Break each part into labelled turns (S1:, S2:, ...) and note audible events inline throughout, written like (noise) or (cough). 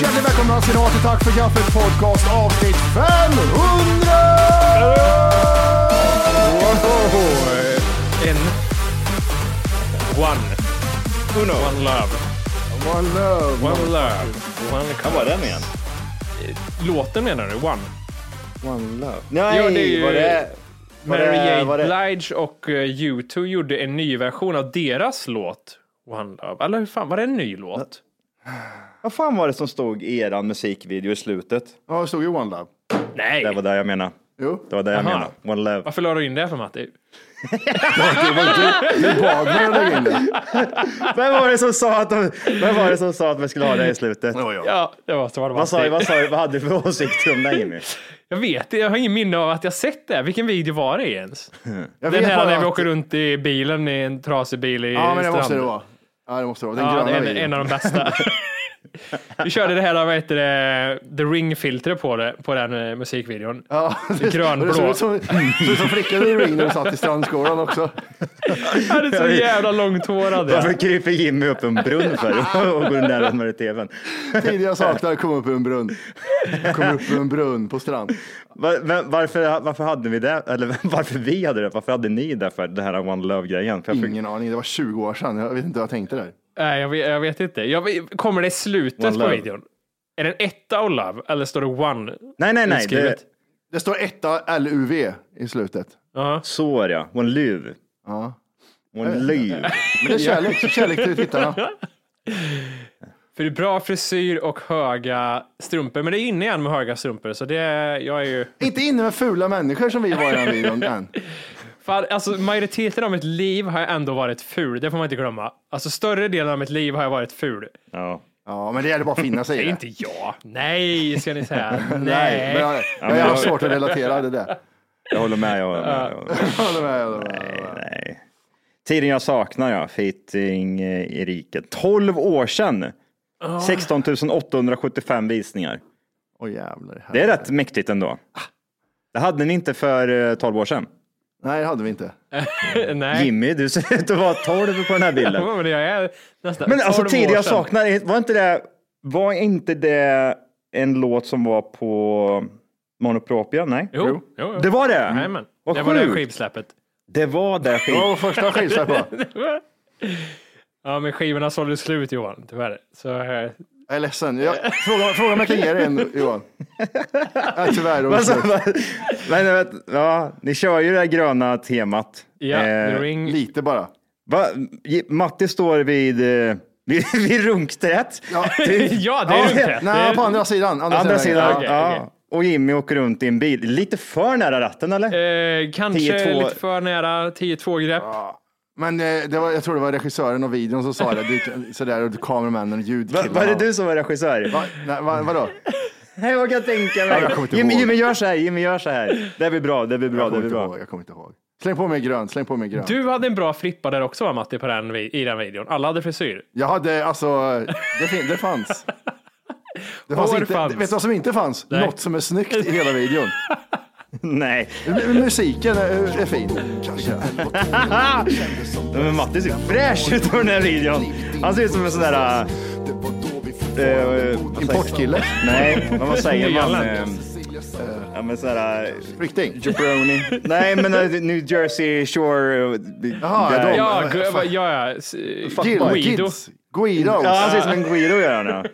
S1: Hjärtligt välkomna ska ni vara till Tack för kaffet podcast avsnitt 500! Wow.
S2: En. One. Uno. One love.
S1: One love.
S2: One love. One
S3: Vad var den igen?
S2: Låten menar du? One.
S1: One love.
S3: Nej,
S2: Jo, det är ju-
S3: var det... Var
S2: Mary
S3: det, var
S2: J.
S3: det,
S2: Blige och eh, U2 gjorde en ny version av deras låt One Love. Eller hur fan, var det en ny låt?
S3: vad fan var det som stod i eran musikvideo i slutet?
S1: Ja, det stod ju One love.
S2: Nej!
S3: Det var det jag menade.
S1: Jo.
S3: Det var det jag
S2: Aha.
S3: menade. One love.
S2: Varför la du in det för Matti?
S1: Du bad mig att lägga in det.
S3: Vem var det som sa att, de, vem var det som sa att vi skulle ha det i slutet?
S1: var jag.
S2: Ja, det var så var det
S3: Vad, sa,
S2: Matti.
S3: vad, sa, vad hade du för åsikt om det Jimmy?
S2: Jag vet det, jag har ingen minne av att jag sett det. Vilken video var det
S3: (laughs)
S2: ens?
S1: Jag
S2: Den
S1: vet
S2: här
S1: bara
S2: när vi
S1: att-
S2: åker runt i bilen i en trasig bil i
S1: Ja, men det
S2: stranden.
S1: måste det vara. Ja, det måste det vara. Den
S2: Ja, det
S1: gröna
S2: är en, en
S1: videon.
S2: av de
S3: (laughs)
S2: bästa. Vi körde det här, vad heter det, the ring-filtret på, det, på den eh, musikvideon.
S1: Ja, (laughs) det-
S2: grönblå.
S1: och Det såg ut som, såg ut som flickan i Ring när de satt i strandskåran också.
S2: Han hade så jävla långt hår hade jag.
S3: Varför kryper Jimmy upp en brunn för (laughs) och går nära med i tvn? (laughs)
S1: Tidigare saknar kom upp ur en brunn. Kom upp ur en brunn på strand.
S3: Va- men Varför, varför hade vi det? Eller (laughs) varför vi hade det? Varför hade ni det för det här One Love-grejen?
S4: Mm.
S3: För jag fick-
S1: Ingen aning, det var 20 år sedan. Jag vet inte vad jag tänkte där.
S2: Nej, jag vet, jag vet inte. Jag, vet- kommer det i slutet
S3: One
S2: på
S3: love.
S2: videon? Är det en etta och love eller står det one?
S3: Nej, nej, nej. Det,
S2: Utskrivet.
S1: Det står etta LUV i slutet.
S2: Ja.
S3: så är det, ja. One Luv.
S1: Ja.
S3: One Luv.
S1: Men det är kärlek, kärlek till tittarna.
S3: (laughs)
S2: För det är bra frisyr och höga strumpor. Men det är inne igen med höga strumpor, så det, jag är ju...
S1: Inte inne med fula människor som vi var i den här videon än.
S2: Fan, alltså, majoriteten av mitt liv har jag ändå varit ful, det får man inte glömma. Alltså större delen av mitt liv har jag varit ful.
S3: Ja.
S1: Ja, men det gäller bara att finna sig i
S2: Det
S1: det.
S2: är inte jag. Nej, ska
S3: (laughs)
S2: ni säga.
S1: Nej,
S2: Nej.
S1: men jag, jag, jag har svårt att relatera det där.
S3: Jag håller med. Jag håller med, jag håller med.
S1: Håller med, håller med.
S3: Nej. Tiden jag saknar, ja. Fitting eh, i riket. 12 år sedan. 16 875 visningar.
S1: Åh jävlar.
S3: Det är rätt mäktigt ändå. Det hade ni inte för eh, 12 år sedan.
S1: Nej, det hade vi inte.
S2: Nej. (laughs)
S3: Jimmy, du ser ut att vara 12 på den här bilden.
S2: Ja, men jag är nästan
S3: Men alltså
S2: 12 år
S3: tidigare jag
S2: sedan.
S3: saknar, var inte det, var inte det en låt som var på Monopropia? Nej?
S2: Jo, jo, jo.
S3: Det var det?
S2: Jajamän.
S3: Vad
S2: Det var det
S3: sjukt.
S2: skivsläppet. (laughs)
S3: Det var det
S1: (laughs) Det var
S3: skit.
S1: vår första skivsläpp på.
S2: Ja, men skivorna sålde slut Johan, tyvärr. Så, eh, (laughs)
S1: Jag är ledsen. Jag, fråga, fråga om jag kan ge dig en,
S3: (laughs)
S1: Johan. Ja, tyvärr. de är
S3: Alltså,
S1: slut.
S3: men, jag vet, ja, ni kör ju det här gröna temat.
S2: ja,
S3: Eh,
S2: The Ring.
S1: Lite bara.
S3: va, Matti står vid eh, (laughs) Vi, vi runktät.
S1: Ja.
S2: (laughs) ja, det är
S3: Ja.
S2: ju inte. Det
S1: Nej,
S2: är-
S1: på andra sidan. Andra,
S3: Andra sidan,
S2: okej,
S3: ja.
S2: okej.
S3: Och Jimmy åker runt i en bil. Lite för nära ratten eller?
S2: Eh, kanske
S3: 10-2.
S2: lite för nära 10-2 grepp.
S1: Men eh, det var, jag tror det var regissören och videon som sa det. det sådär, och kameramännen och
S3: Va,
S1: ljudkillarna.
S3: var det du som var regissör?
S1: Va, nej, va, vadå?
S3: Nej, jag kan tänka
S1: Ja, jag kommer
S3: mig.
S1: inte
S3: Jimmy,
S1: ihåg.
S3: Jimmy, gör så här, Jimmy, gör så här. Det blir bra, det blir bra,
S1: Jag
S3: det
S1: kommer,
S3: blir
S1: inte
S3: bra.
S1: ihåg, jag kommer inte ihåg. Släng på mig grönt, släng på mig grönt.
S2: Du hade en bra frippa där också va, Matti, på den, vi- i den videon. Alla hade frisyr.
S1: Jag hade, alltså, det, fin- det fanns. Det fanns
S2: Hår
S1: inte,
S2: fanns.
S1: Vet du vad som inte fanns?
S2: Nej.
S1: Något som är snyggt i hela videon.
S3: (laughs) Nej,
S1: M- Musiken är, är fin. Kanske.
S3: men Matti ser fräsch ut på den här videon. Han ser ut som en sån där... eh, Äh,
S2: Eh,
S3: äh,
S1: Importkille.
S3: nej, men vad säger man?
S2: Nyanländ.
S3: Eh, Ja, men sån här... eh,
S1: Flykting.
S3: Jabroni. nej, men eh, New Jersey Shore... eh,
S1: Jaha,
S3: där.
S1: de-
S2: Ja,
S1: men,
S2: gu-
S1: fan.
S2: ja, ja. S-
S1: Gil-
S2: Guido.
S1: Kids. Guido.
S3: Ja, han ser ut som en Guido gör han. ja.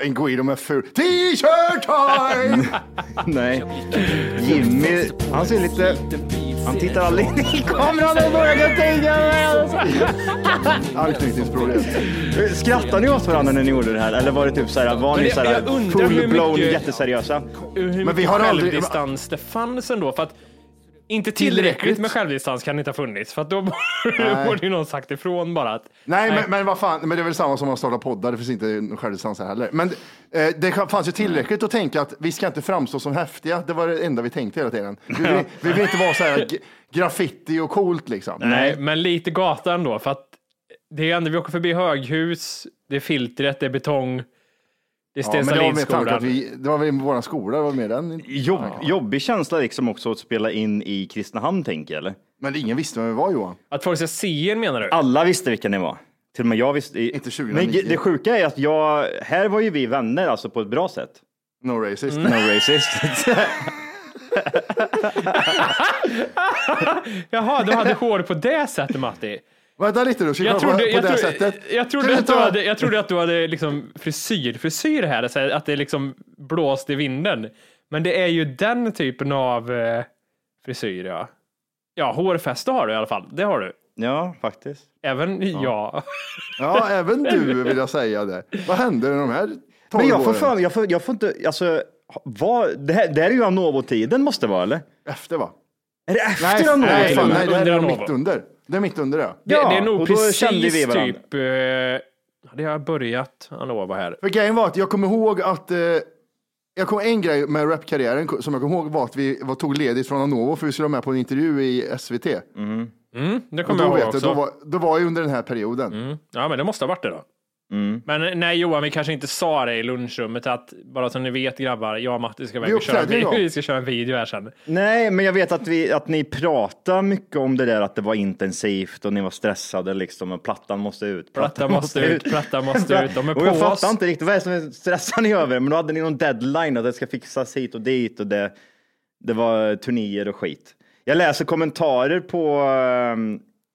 S1: En Guido med ful. T-shirt time!
S3: Nej. Jimmy, han ser lite... Han tittar aldrig in i kameran och börjar tänka
S1: (laughs) Anknytningsproblem.
S3: Skrattade ni åt varandra när ni gjorde det här? Eller var det typ såhär, var
S2: Men
S3: ni
S2: jag-
S3: såhär
S2: jag undrar hur
S3: full-blown
S2: mycket-
S3: jätteseriösa?
S2: Hur
S1: Men vi
S2: mycket
S1: har aldrig-
S2: självdistans det fanns ändå? För att inte tillräckligt
S1: Tillräckligt.
S2: med självdistans kan det inte ha funnits. För att då (laughs) borde- borde ju någon sagt ifrån bara att
S1: Nej, men, men vad fan, men det är väl samma som att starta poddar, det finns inte någon självdistans här heller. Men eh, det fanns ju tillräckligt att tänka att vi ska inte framstå som häftiga, det var det enda vi tänkte hela tiden. Vi vill, vi vill inte vara så här g- graffiti och coolt liksom.
S2: Nej, men lite gata ändå. För att det är ju ändå, vi åker förbi höghus, det är filtret, det är betong, det är
S1: Ja, men det var med tanke
S2: Stensalindsskolan.
S1: att vi, det var väl vår skola, det var med den.
S3: Jobb, jobbig känsla liksom också att spela in i Kristinehamn tänker jag eller?
S1: Men ingen visste vem vi var Johan.
S2: Att folk ska se en menar du?
S3: Alla visste vilka ni var. Till och med jag visste. i-
S1: Inte 2009.
S3: Men ge- det sjuka är att jag, här var ju vi vänner alltså på ett bra sätt.
S2: Mm.
S1: No racist.
S3: No
S2: (laughs)
S3: racist.
S2: Jaha, du hade hår på det sättet Matti.
S1: Vänta lite du, ska jag
S2: Jag
S1: på, på
S2: trodde,
S1: (laughs) det
S2: jag,
S1: här
S2: trodde,
S1: sättet?
S2: jag, trodde att du
S1: Sluta!
S2: hade, jag trodde att du hade liksom frisyr, frisyr här, så här, att det liksom blåste i vinden. Men det är ju den typen av eh, frisyr, ja. Ja, hårfäste har du i alla fall. Det har du.
S3: ja, faktiskt.
S2: Även jag.
S1: Ja, även du vill jag säga det. Vad hände med de här 12
S3: Men jag får
S1: åren?
S3: för jag får, jag får inte, alltså, vad, det, här, det här är ju Anovo-tiden måste vara eller?
S1: Efter va?
S3: Är det efter
S1: Nej,
S3: Anovo?
S1: nej, fan, nej det här
S2: Under
S1: är
S2: Anova.
S1: mitt under. Det är mitt under det.
S2: Det,
S3: Ja,
S2: det är nog
S3: och då
S2: precis
S3: kände vi varandra.
S2: typ... Eh, ja, det har börjat, han lovar
S3: Mm.
S2: här.
S1: För grejen var att jag kommer ihåg att eh, jag kom, en grej med rapkarriären som jag kommer ihåg var att vi var, tog ledigt från Anovo för vi skulle vara med på en intervju i SVT.
S2: Mm, det
S1: Och
S2: kommer
S1: då,
S2: jag ihåg
S1: vet jag,
S2: också.
S1: då, var, då var jag under den här perioden.
S2: Ja, men det måste ha varit det då.
S3: Mm.
S2: Men eh, nej Johan, vi kanske inte sa det i lunchrummet att bara som ni vet grabbar, jag och Matti ska iväg
S1: Vi
S2: och köra en
S1: uppträdde ju
S2: video.
S1: då.
S2: (laughs) Vi ska köra en video här sen.
S3: Nej, men jag vet att, vi, att ni pratar mycket om det där att det var intensivt och ni var stressade liksom och plattan måste ut.
S2: Plattan måste ut, plattan måste ut. De är
S3: och jag
S2: på oss.
S3: fattar inte riktigt, vad är det som är- stressar ni över? Men då hade ni någon deadline att det ska fixas hit och dit och det, det var turnéer och skit. Jag läser kommentarer på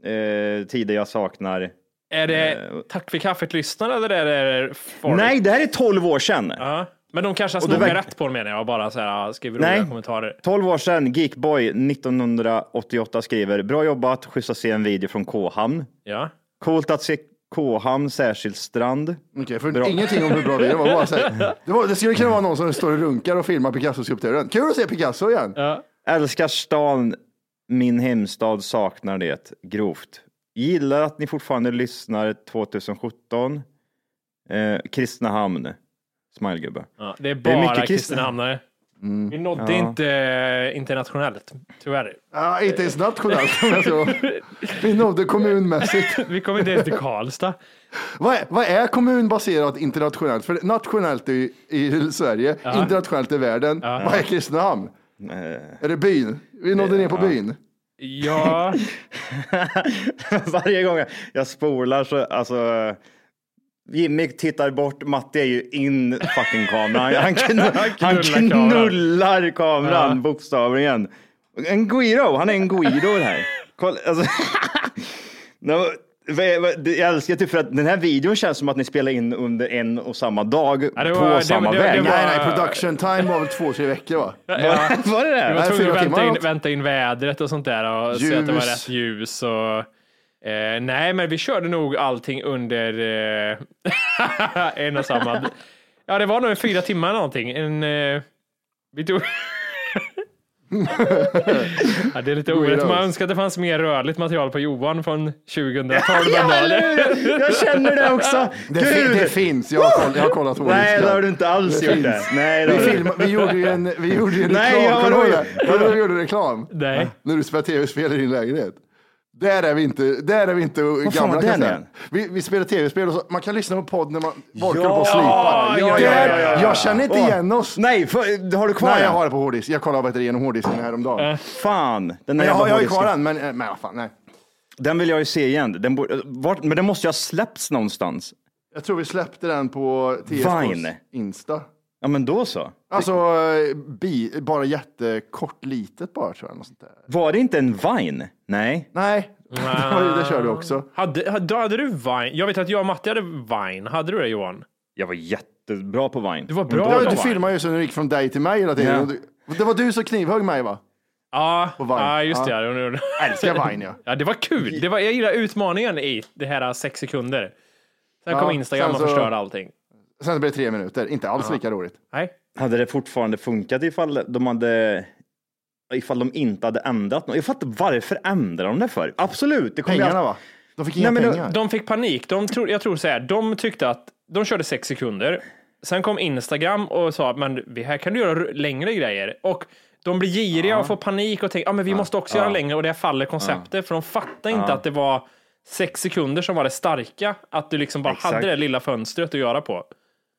S3: eh, eh, tider jag saknar.
S2: Är det Tack för kaffet-lyssnare eller är det folk?
S3: Eh, Nej, det här är 12 år sedan.
S2: Ja. Men de kanske har
S3: det
S2: snokat
S3: verk-
S2: rätt på den menar jag och bara så här, ja, skriver
S3: Nej.
S2: roliga kommentarer.
S3: 12 år sedan, Geekboy 1988 skriver, bra jobbat, schysst att se en video från K-hamn.
S2: Ja.
S3: Coolt att se K-hamn, särskilt strand.
S1: Okej, för
S3: Bra.
S1: ingenting om hur bra vi är. Det, var bara så här, det, var, det skulle kunna vara någon som står och runkar och filmar Picasso-skulpturen. Kul att se Picasso igen.
S3: Älskar stan, min hemstad saknar det grovt. Gillar att ni fortfarande lyssnar 2017. Eh, Kristinehamn, smilegubbe. (laughs)
S2: Ja, det
S3: är
S2: är bara
S3: mycket Mm.
S2: Kristinehamnare. Vi nådde inte eh, internationellt, tyvärr.
S1: Ja, inte ens nationellt om jag tror. Vi nådde kommunmässigt.
S2: Vi kom inte ens till Karlstad.
S1: Vad är, vad är kommunbaserat internationellt? För nationellt är ju i Sverige, internationellt i världen. Vad är Kristinehamn? Är det byn? Vi nådde ner på byn.
S3: (laughs)
S2: Ja,
S3: Varje gång jag- jag spolar så, alltså. Jimmy tittar bort, Matti är ju in fucking kameran. Han, kn- han
S2: knullar kameran.
S3: knullar kameran bokstavligen. En Guido, han är en Guido det här. Kolla, alltså. (laughs) Nej, men, vad- vad- det- Jag älskar typ för att den här videon känns som att ni spelar in under en och samma dag
S2: det
S3: på
S2: var- det-
S3: samma
S2: det- det
S3: väg.
S2: var-
S1: Nej, nej, production time var väl två, tre veckor va?
S2: ja.
S3: Var det
S2: Vi var
S3: det?
S1: Nej,
S2: tvungna
S1: fyra
S2: att
S1: timmar
S2: vänta in,
S1: åt.
S2: vänta in vädret och sånt där och se att det var
S1: Ljus.
S2: rätt ljus. Och, Eh, nej, men vi körde nog allting under eh, (laughs) en och samma. Ja, det var nog en fyra timmar eller någonting. En, eh, vi tog... (laughs) ja, det är lite orätt. Man önskar att det fanns mer rörligt material på Johan från 2012.
S3: Ja, eller hur? Jag känner det också.
S1: Det, fin,
S3: Gud.
S1: det finns, jag har, koll, jag har kollat vår
S3: Nej, det
S1: lista.
S3: har du inte alls gjort det. Nej, det
S1: Vi,
S3: har du.
S1: filmade, vi gjorde ju en, vi gjorde ju en
S3: Nej,
S1: reklam.
S3: jag var
S1: Kommer du ihåg
S3: rolig.
S1: det? Kommer du ihåg när vi gjorde reklam?
S2: Nej.
S1: När du spelar tv-spel i din lägenhet. Där är vi inte, där är vi inte gamla.
S3: fan var
S1: kan jag
S3: den
S1: säga.
S3: igen?
S1: vi, vi spelar tv-spel och så, man kan lyssna på podd när man orkar
S3: Ja,
S1: på att
S3: ja,
S1: slipa.
S3: ja,
S1: Där-
S3: ja, ja, ja.
S1: Jag känner inte
S3: Åh.
S1: igen oss.
S3: Nej, för, har du kvar
S1: Nej, jag
S3: den?
S1: har det på hårddisk. Jag kollade vad igenom hårddisken häromdagen.
S3: Fan, den där
S1: Men jag, har-
S3: jävla
S1: jag har ju
S3: hårddisken.
S1: kvar den, men, men vad fan, nej.
S3: Den vill jag ju se igen. Den borde, vart, men den måste ju ha släppts någonstans.
S1: Jag tror vi släppte den på
S3: Vine.
S1: TSKs Insta.
S3: Ja, men då så.
S1: Alltså, eh, bi, bara jättekort, litet bara tror jag. Något sånt där.
S3: Var det inte en Vine? Nej.
S1: Nej, det, var (laughs) ju- det kör du också.
S2: Hade, hade, då hade du Vine? Jag vet att jag och Matti hade Vine. Hade du det Johan?
S3: Jag var jättebra på Vine.
S2: Du var bra
S1: Ja,
S2: på
S1: Mm, du
S2: Vine.
S1: filmade ju så när du gick från dig till mig hela tiden.
S3: Ja.
S1: Och du- Det var du som knivhögg mig va?
S2: Ja,
S1: Vine.
S2: ja just det.
S1: Ja.
S2: Ja. det var det.
S1: Älskar Vine ja.
S2: Ja, det var kul. Det var, jag gillar utmaningen i det här sex sekunder. Sen
S1: Ja,
S2: kom Instagram
S1: sen
S2: och
S1: så-
S2: förstörde allting.
S1: Sen så blev det tre minuter, inte alls lika roligt.
S2: Nej.
S3: Hade det fortfarande funkat ifall de hade ifall de inte hade ändrat något? Jag fattar varför ändrar de det för? Absolut, det kommer ju
S1: Pengarna
S3: alltid-
S1: va? De fick inga
S3: Nej, men
S1: pengar.
S2: De fick panik. De tror, jag tror så här, de tyckte att de körde sex sekunder. Sen kom Instagram och sa men vi- här kan du göra r- längre grejer. Och de blir giriga och får panik och tänker ah, men vi måste också göra längre och det här faller konceptet. För de fattar inte att det var sex sekunder som var det starka. Att du liksom bara
S3: Exakt.
S2: hade det lilla fönstret att göra på.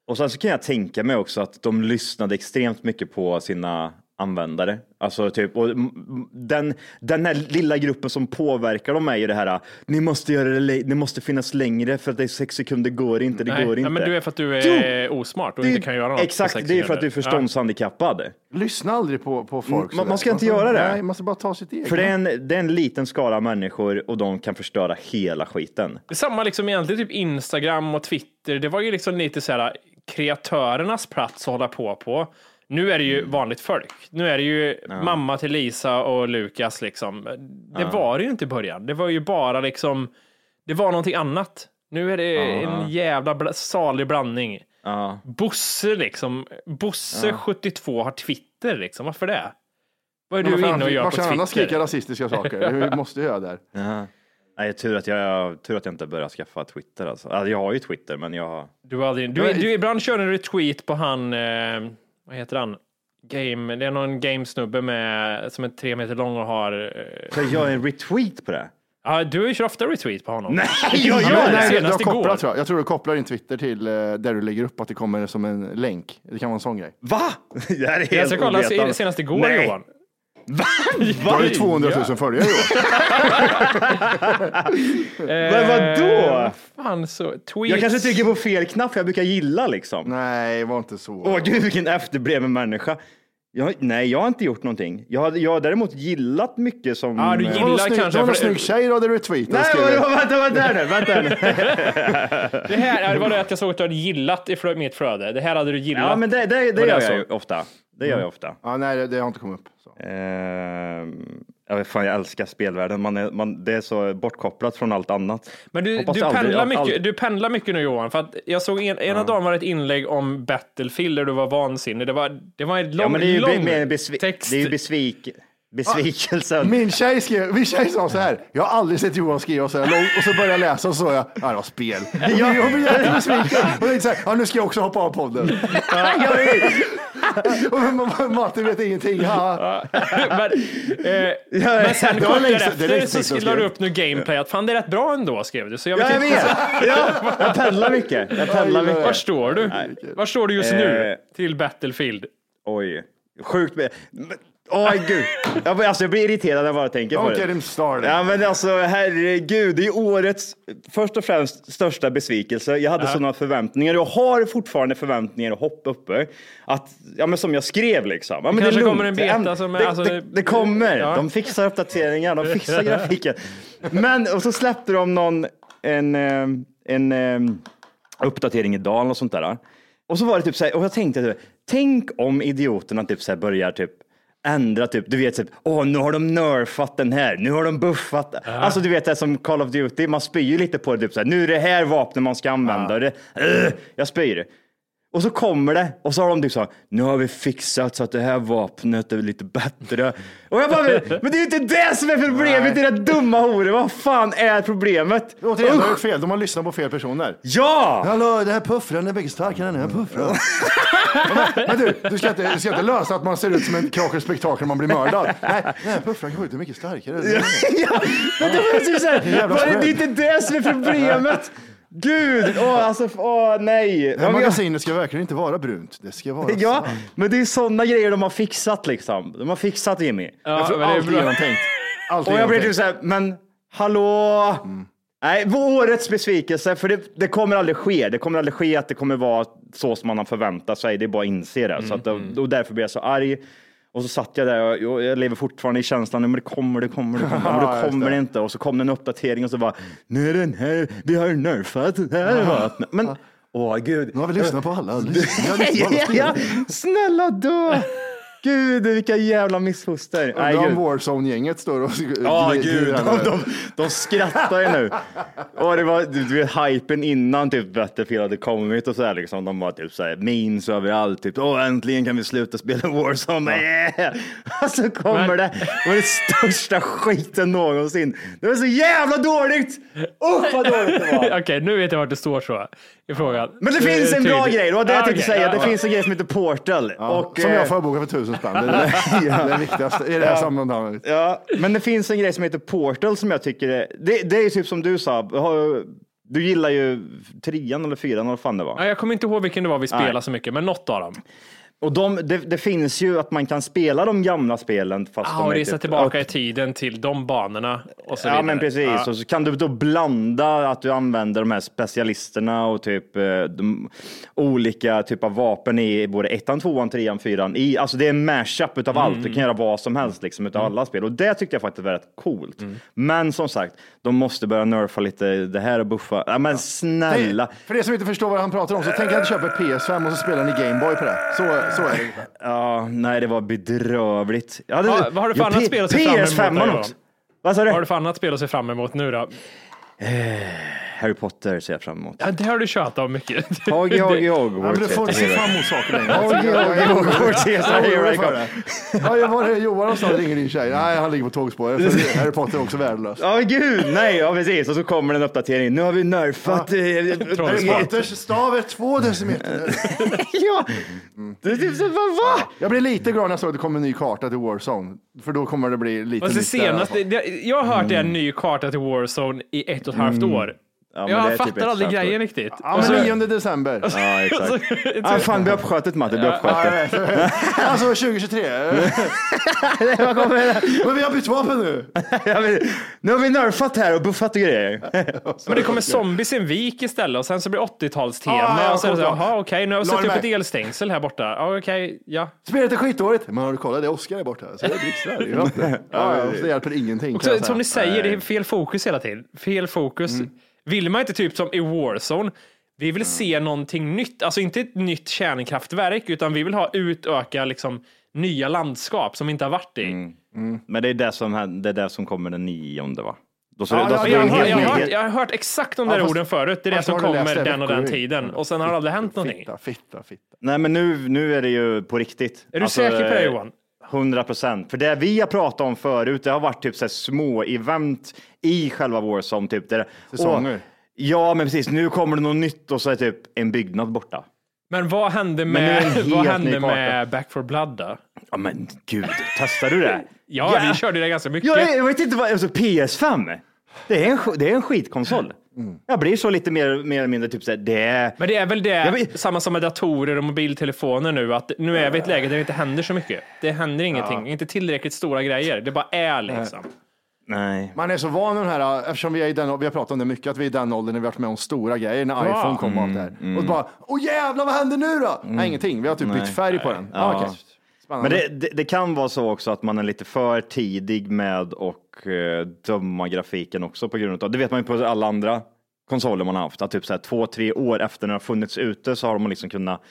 S3: Och sen så kan jag tänka mig också att de lyssnade extremt mycket på sina användare. Alltså typ, och m- m- den, den här lilla gruppen som påverkar dem är ju det här, ni måste göra det, lä- ni måste finnas längre för att det är sex sekunder går inte, det går
S2: Nej,
S3: inte.
S2: men du är för att du är osmart och inte kan göra något på
S3: Exakt,
S2: sex
S3: det är för att
S2: sekunder.
S3: du är förståndshandikappad.
S1: Lyssna aldrig på, på folk.
S3: Mm, man-
S1: sådär.
S3: man ska inte göra det.
S1: Nej, man ska bara ta sitt eget.
S3: För det är, en,
S2: Mm.
S3: det är en liten skara människor och de kan förstöra hela skiten.
S2: Det är samma liksom egentligen typ Instagram och Twitter. Det var ju liksom lite så här kreatörernas plats att hålla på på. Nu är det
S1: Mm.
S2: ju vanligt folk. Nu är det ju mamma till Lisa och Lukas liksom. Det var det ju inte i början. Det var ju bara liksom, det var någonting annat. Nu är det en jävla bla, salig blandning.
S3: Ja.
S2: Bosse liksom, Bosse 72 har Twitter liksom. Varför det? Vad är
S1: Men
S2: du
S1: vad fan,
S2: inne och gör
S1: varför
S2: på
S1: annars skrika
S2: Twitter?
S3: (laughs)
S1: rasistiska saker? Vi måste göra det där.
S3: Nej, tur att jag, tur att jag inte började skaffa Twitter alltså. Alltså, Jag har ju Twitter, men jag...
S2: Du, har aldrig, du, du ibland kör en retweet på han, eh, vad heter han? Game, det är någon gamesnubbe med, som är tre meter lång och har... Eh,
S3: Jag gör en retweet på det.
S2: ja, du kör ofta retweet på honom.
S3: Nej, jag
S2: Ja,
S3: gör
S2: men-
S3: det!
S1: Nej, du har
S2: senast igår.
S1: kopplat tror jag. Jag tror du kopplar din Twitter till eh, där du lägger upp att det kommer som en länk. Det kan vara en sån grej.
S3: Va? (laughs) Det här är helt
S2: Jag ska kolla
S3: ovetande.
S2: se- senast igår
S3: Nej.
S2: Johan.
S3: Va?
S2: (laughs)
S1: Du har ju
S3: Vad
S1: 200 000 följare i år.
S3: Men vadå?
S2: Eh, Fan så, tweets.
S3: Jag kanske trycker på fel knapp, jag brukar gilla liksom.
S1: Nej, var inte så.
S3: Åh gud, vilken efterbliven människa. Jag, nej, jag har inte gjort någonting. Jag har, jag har däremot gillat mycket som...
S2: Ja, du
S3: eh,
S1: det var någon
S2: gillar
S1: snygg- det
S2: kanske-
S1: var någon
S2: för-
S1: snygg tjej då, där du tweetade
S3: Nej,
S1: och skrev
S3: vad- vad- vänta, vänta här nu, vänta här
S2: (laughs)
S3: nu.
S2: Det här ja, det var det att jag såg att du hade gillat i flö, mitt flöde. Det här hade du gillat.
S3: Ja, men det, det, det
S2: det
S3: gör
S2: så? Mm.
S3: jag ju ofta. Det gör jag ofta.
S1: Ja, nej, det, det har inte kommit upp. Så.
S3: Ehm, jag, vet fan, jag älskar spelvärlden. Man är, man, det är så bortkopplat från allt annat.
S2: Men du,
S3: Hoppas
S2: du,
S3: jag aldrig-
S2: pendlar
S3: jag-
S2: mycket,
S3: aldrig-
S2: du pendlar mycket nu Johan, för att jag såg en, ena dagen var det ett inlägg om Battlefield där du var vansinnig. Det var, det var en lång,
S3: Ja, men det är ju
S2: lång
S3: be- mer en besvi-
S2: text. Ah,
S3: Det är ju besvik, besvikelse.
S1: Min tjej, skrev, min tjej sa så här, jag har aldrig sett Johan skriva så här långt och så började jag läsa och så sa jag, ja det var spel. Jag, jag blev jättebesviken. Och tänkte så här, ja, nu ska jag också hoppa av podden. (laughs) och ma- ma- Matte vet ingenting. Ja.
S2: (laughs) men, eh, men sen
S1: det var
S2: kort
S1: längst- det är
S2: därefter
S1: längst
S2: så
S1: dit jag
S2: sk- la du
S1: skrev.
S2: upp nu gameplay att fan det är rätt bra ändå skrev du. Så jag vet
S3: Ja, jag
S2: inte.
S3: vet. Ja, jag
S2: (laughs)
S3: pendlar mycket. Jag pendlar mycket.
S2: Var står du? Var står du just nu
S3: Eh.
S2: till Battlefild?
S3: Oj, sjukt. med- men- Åh gud, jag, blir- alltså, jag blir irriterad när jag bara tänker på
S1: Don't
S3: det.
S1: get him started.
S3: Ja men alltså herregud, det är årets först och främst största besvikelse. Jag hade sådana förväntningar och har fortfarande förväntningar och hopp uppe. Att, ja men som jag skrev liksom. Ja, men
S2: kanske
S3: är lugnt.
S2: kommer en beta
S3: Det-
S2: som är-
S3: det,
S2: alltså,
S3: det, det kommer,
S2: Ja.
S3: de fixar uppdateringar, de
S2: (laughs)
S3: fixar grafiken. Men, och så släppte de någon, en, eh, en eh, uppdatering idag eller något sånt där. Och så var det typ så här, och jag tänkte, typ, tänk om idioterna typ så här börjar typ ändra typ, du vet typ, åh nu har de nerfat den här, nu har de buffat. Alltså du vet det är som Call of Duty, man spyr ju lite på det, typ så här, nu är det här vapnet man ska använda. Och det, "Ugh, jag spyr. Och så kommer det och så har de typ så här, nu har vi fixat så att det här vapnet är lite bättre. Och jag bara, men det är ju inte det som är problemet, era dumma horor. Vad fan är problemet?
S1: Återigen, de har gjort fel. De har lyssnat på fel personer.
S3: Ja!
S1: Hallå, det här puffrar, den är mycket starkare än den här puffran. men, men du, du ska, inte, du ska inte lösa att man ser ut som en krakel spektakel när man blir (laughs) mördad. Nej, den här puffran kan skjuta mycket starkare.
S3: ja, men Alltså, det var ju så här,
S1: Jävla
S3: var det,
S1: spread.
S3: det är inte det som är problemet. Gud, åh alltså, åh nej.
S1: Det här
S3: Ja, men jag-
S1: magasinet ska verkligen inte vara brunt. Det ska vara
S3: Ja,
S1: svart.
S3: men det är sådana grejer de har fixat liksom. De har fixat Jimmy.
S2: Ja, men det är
S1: Allt är
S2: bra.
S1: genomtänkt. Allt är
S3: Och jag blev
S1: genomtänkt.
S3: typ såhär, men hallå? Nej, vår- årets besvikelse, för det, det kommer aldrig ske. Det kommer aldrig ske att det kommer vara så som man har förväntat sig. Det är bara att inse det. så att,
S1: Mm,
S3: och därför blev jag så arg. Och så satt jag där och jag, jag lever fortfarande i känslan, men det kommer, det kommer, det kommer, men
S1: (laughs) Ja,
S3: det
S1: just
S3: kommer
S1: det.
S3: det inte. Och så kom det en uppdatering och så bara, nu är den här, vi har nerfat den här vapnet. Men,
S1: (laughs)
S3: åh gud.
S1: Nu har vi lyssnat på alla. Lyssna- vi har lyssnat
S3: (laughs)
S1: på alla
S3: Ja, (laughs) ja,
S1: spel.
S3: snälla
S1: (laughs)
S3: dö! Gud, vilka jävla missfoster. Nej,
S1: Undrar om
S3: gud.
S1: Warzone-gänget står och...
S3: Ja,
S1: gri-
S3: gud. (laughs)
S1: grinar
S3: De,
S1: nu.
S3: de, de skrattar ju nu. Och det var du vet, hypen innan typ Battlefield hade kommit och så här liksom. De var typ så här memes överallt. Typ, åh, äntligen kan vi sluta spela Warzone. Yeah! (laughs) Och så kommer
S2: Men-
S3: det. Det var det största skiten någonsin. Det var så jävla dåligt. Usch vad dåligt det
S2: (laughs)
S3: var.
S2: Okej, nu vet jag vart det står så i frågan.
S3: Men det
S2: är
S3: finns en
S2: tydligt.
S3: bra grej, det var det jag
S2: Ja,
S3: tänkte
S2: okej,
S3: säga.
S2: ja,
S3: Det
S2: ja.
S3: finns en grej som heter Portal.
S1: Ja,
S3: Och,
S1: som
S3: eh,
S1: jag förbokar för tusen spänn. Det (laughs) är det, det är det viktigaste i det här sammanhanget.
S3: Ja, men det finns en grej som heter Portal som jag tycker är, det, det är ju typ som du sa, har- du gillar ju trean eller fyran eller vad fan det var.
S2: Ja, jag kommer inte ihåg vilken det var vi spelade så mycket, men något av dem.
S3: Och de, det, det finns ju att man kan spela de gamla spelen fast
S2: Ja,
S3: de
S2: och
S3: är
S2: resa
S3: typ-
S2: tillbaka i tiden till de banorna och så
S3: Ja
S2: vidare.
S3: men precis,
S2: Ja.
S3: och så kan du då blanda att du använder de här specialisterna och typ eh, de olika typer av vapen i både ettan, tvåan, trean, fyran. I, alltså det är en mashup utav
S2: Mm.
S3: allt, du kan göra vad som helst liksom utav alla spel och det tyckte jag faktiskt var rätt coolt.
S2: Mm.
S3: Men som sagt, de måste börja nerfa lite det här och buffa. Ja, men snälla!
S1: För er som inte förstår vad han pratar om, så tänk att köpa ett PS5 och så spelar ni Gameboy på det. Så, så är det.
S3: Ja, nej det var bedrövligt. Jag hade,
S2: Ja, vad har du för
S3: Ja,
S2: annat
S3: P-
S2: spel att se fram emot
S3: PS5
S2: då, Johan?
S3: också. Vad sa
S2: Vad har
S3: du?
S2: du för annat spel att se fram emot nu då?
S3: Harry Potter ser jag fram emot.
S2: Ja, det har du tjatat om mycket.
S3: Hag i Hag i
S1: Ja, men
S3: Hogwarts.
S1: du får
S3: heter
S1: inte se
S3: det.
S1: fram emot saker längre.
S3: Hag i Hag i Hogwarts. heter
S1: Jag
S3: det. Here
S1: oroar mig
S3: I
S1: för
S3: come.
S1: det. Ja, jag var det Johan och så ringer din tjej. Nej, han ligger på tågspåret. (laughs) Så Harry Potter är också värdelös.
S3: Ja, gud, nej, ja precis. Och så kommer en uppdatering. Nu har vi nerfat... eh,
S1: Harry
S3: eh,
S1: Potters stav är två decimeter. (laughs)
S3: Ja, det är typ så, vad, va?
S1: Jag blir lite glad när jag såg att det kommer en ny karta till Warzone. För då kommer det bli lite
S2: Och så
S1: nytt där i alla
S2: senast,
S1: fall.
S2: det- jag har hört det är en ny karta till Warzone i ett och ett halvt år.
S3: men det är
S2: jag
S3: typ
S2: fattar
S3: ett
S2: aldrig
S3: halvt år.
S2: grejen riktigt. typ-
S1: Ja, men 9 december.
S2: Alltså-
S3: Ja,
S2: (laughs)
S3: exakt. Ah, fan, bli uppskjutet Matte, bli
S1: Ja,
S3: uppskjutet.
S1: nej. Alltså 2023. Men vi har bytt vapen nu.
S3: Ja, men, nu har vi nerfat här och buffat och grejer.
S2: men det kommer zombies i en vik istället och sen så blir det 80-talstema.
S1: Ja, ja,
S2: och så är det så,
S1: kommer
S2: jaha
S1: ihåg.
S2: okej, nu har vi satt
S1: Lade
S2: upp ett
S1: mig.
S2: elstängsel här borta. Ja, okej, ja.
S1: Spelet är skitdåligt. Men har du kollat, det är Oscar där borta. Så det blixtrar. det gör inte. Ja, ja, det hjälper ingenting.
S2: Och
S1: kan jag
S2: så,
S1: säga.
S2: som ni säger, det är fel fokus hela tiden. Fel fokus. Vill man inte typ som i Warzone, vi vill se någonting nytt, alltså inte ett nytt kärnkraftverk, utan vi vill ha utöka liksom nya landskap som vi inte har varit i.
S3: (laughs) Men det är det som, händer- det är det som kommer den nionde, va? Då så,
S1: Ja,
S3: då
S1: ja,
S3: så är
S1: ja,
S2: Jag
S3: det
S2: har,
S3: en
S2: jag, har
S3: helt
S2: hört,
S3: ny.
S2: jag har hört exakt de där
S1: Ja, fast-
S2: orden förut. Det är det
S1: fast
S2: som
S1: har du läst
S2: kommer
S1: det
S2: den och den
S1: veckor i?
S2: tiden. Och sen har det aldrig hänt någonting.
S1: Fitta, fitta, fitta.
S3: Nej, men nu, nu är det ju på riktigt. Alltså,
S2: Är du säker på det
S3: eh,
S2: Johan?
S3: 100 procent. För det vi har pratat om förut, det har varit typ så här små event i själva Warzone. Typ, där,
S1: Säsonger.
S3: Och, ja, men precis. Nu kommer det något nytt och så är typ en byggnad borta.
S2: Men vad hände
S3: Men nu är det en
S2: med,
S3: helt
S2: vad
S3: ny
S2: hände
S3: karta.
S2: med Back for Blood då?
S3: Ja, men gud, testar du det?
S2: Ja, vi körde det ganska mycket.
S3: Ja, jag, jag vet inte vad, alltså PS5, det är en, sk- det är en skitkonsol. Jag blir så lite mer, mer eller mindre typ så här, det är...
S2: Men det är väl det,
S3: men-
S2: samma som med datorer och mobiltelefoner nu, att nu är vi i ett läge där det inte händer så mycket. Det händer ingenting, inte tillräckligt stora grejer. Det bara är liksom.
S3: Nej.
S1: Man är så van med den här, eftersom vi, är i den, vi har pratat om det mycket, att vi är i den åldern när vi har varit med om stora grejer, när iPhone kom och allt det här. Och bara, åh jävlar vad händer nu då? Nej, ingenting. Vi har typ bytt färg på den. Ja. okej. Spännande.
S3: Men det, det, det kan vara så också att man är lite för tidig med och eh, döma grafiken också på grund av, det vet man ju på alla andra konsoler man har haft. Att typ så här två, tre år efter den har funnits ute så har man liksom kunnat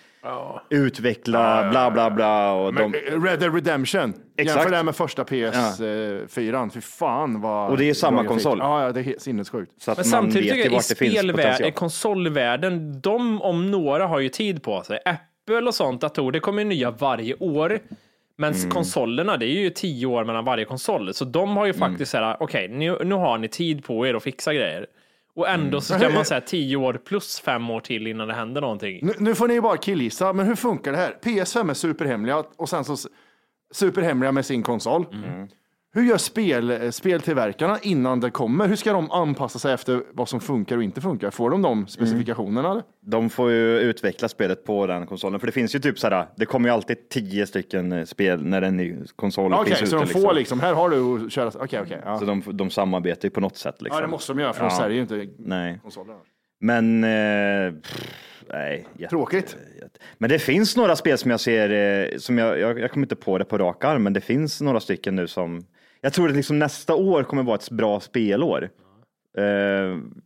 S3: utveckla bla bla bla. Och
S1: Men,
S3: de,
S1: eh, Red Dead Redemption.
S3: Exakt.
S1: Jämför det här med första PS4. Fy fan vad...
S3: Och det är samma
S1: bra grafik.
S3: konsol.
S1: Ja, ja, det är helt sinnessjukt.
S3: så att
S2: Men
S3: man vet
S2: samtidigt
S3: ju
S2: tycker jag i
S3: vart det finns
S2: spelvärlden,
S3: potential.
S2: konsolvärlden, de om några har ju tid på sig. Apple och sånt, datorer, det kommer ju nya varje år. Men
S3: Mm.
S2: konsolerna, det är ju tio år mellan varje konsol. Så de
S3: Mm.
S2: har ju faktiskt så här, okej, nu, nu har ni tid på er att fixa grejer. Och ändå
S3: Mm.
S2: så kan man säga tio år plus fem år till innan det händer någonting.
S1: Nu, nu får ni ju bara killgissa, men hur funkar det här? PS5 är superhemliga och sen så s- superhemliga med sin konsol.
S3: Mm.
S1: Hur gör spel, eh, speltillverkarna innan det kommer? Hur ska de anpassa sig efter vad som funkar och inte funkar? Får de de
S3: Mm.
S1: specifikationerna? eller?
S3: De får ju utveckla spelet på den konsolen, för det finns ju typ såhär, det kommer ju alltid tio stycken eh, spel när en ny konsol
S1: Okej,
S3: finns
S1: så
S3: ute.
S1: de får liksom. här har du att köra. Okej, okej. ja.
S3: Så de, de samarbetar ju på något sätt. Liksom.
S1: ja, det måste de göra för de
S3: Ja.
S1: säljer ju inte
S3: Nej.
S1: konsolerna.
S3: Men, eh, pff, nej. jätte-
S1: Tråkigt.
S3: jätte- Men det finns några spel som jag ser, eh, som jag, jag, jag kommer inte på det på rak arm, men det finns några stycken nu som, jag tror att liksom nästa år kommer vara ett bra spelår. Eh,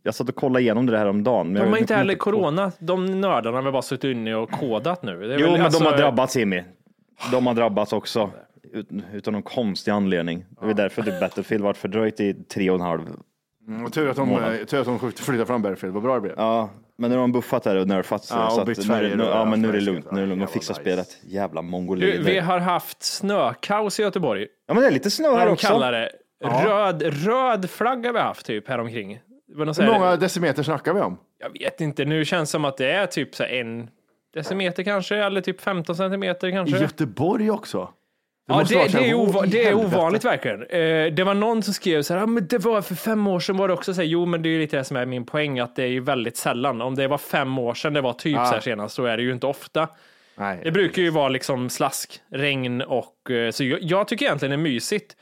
S3: jag satt och kollade igenom det här om dagen. men jag
S2: De har
S3: kommer
S2: inte heller
S3: på-
S2: corona, de nördarna har väl bara suttit inne och kodat nu. Det är
S3: Jo,
S2: väl
S3: men
S2: alltså-
S3: de har drabbats Jimmy. De har drabbats också. Ut, utan någon konstig anledning. Det är därför det Battlefield varit fördröjt i tre och en halv.
S1: Mm, och tur att de, eh, tur att de skjuter- flyttar fram Battlefield, vad bra det blev.
S3: Ja, men nu har de buffat här och nerfat. Så,
S1: Ja, och
S3: så att
S1: bytt
S3: nu, är
S1: färger
S3: det- nu,
S1: och-
S3: ja, men nu är det
S1: ja,
S3: lugnt. Nu är det lugnt. De
S1: jävla
S3: fixar
S1: nice.
S3: spelet. Jävla
S2: Du, vi
S3: mongolider.
S2: har haft snökaos i Göteborg.
S3: Ja, men det är lite snö
S2: Vad
S3: här
S2: de
S3: också.
S2: kallar det. Röd, röd flagga vi har haft typ häromkring. Det var någon så
S1: Hur
S2: här-
S1: många decimeter snackar vi om?
S2: Jag vet inte, nu känns det som att det är typ så här en decimeter kanske, eller typ 15 centimeter kanske.
S1: Göteborg också?
S2: ja,
S1: måste
S2: det,
S1: vara
S2: det,
S1: så här,
S2: är,
S1: "Åh,
S2: ova-
S1: i
S2: det är
S1: helvete."
S2: ovanligt verkligen. Eh, det var någon som skrev så här, ah, men det var för fem år sedan var det också så här, jo men det är ju lite det som är min poäng, att det är ju väldigt sällan. Om det var fem år sedan det var typ så här senast, så är det ju inte ofta.
S1: Nej.
S2: Det brukar ju vara liksom slask, regn och eh, så jag, jag tycker egentligen det är mysigt.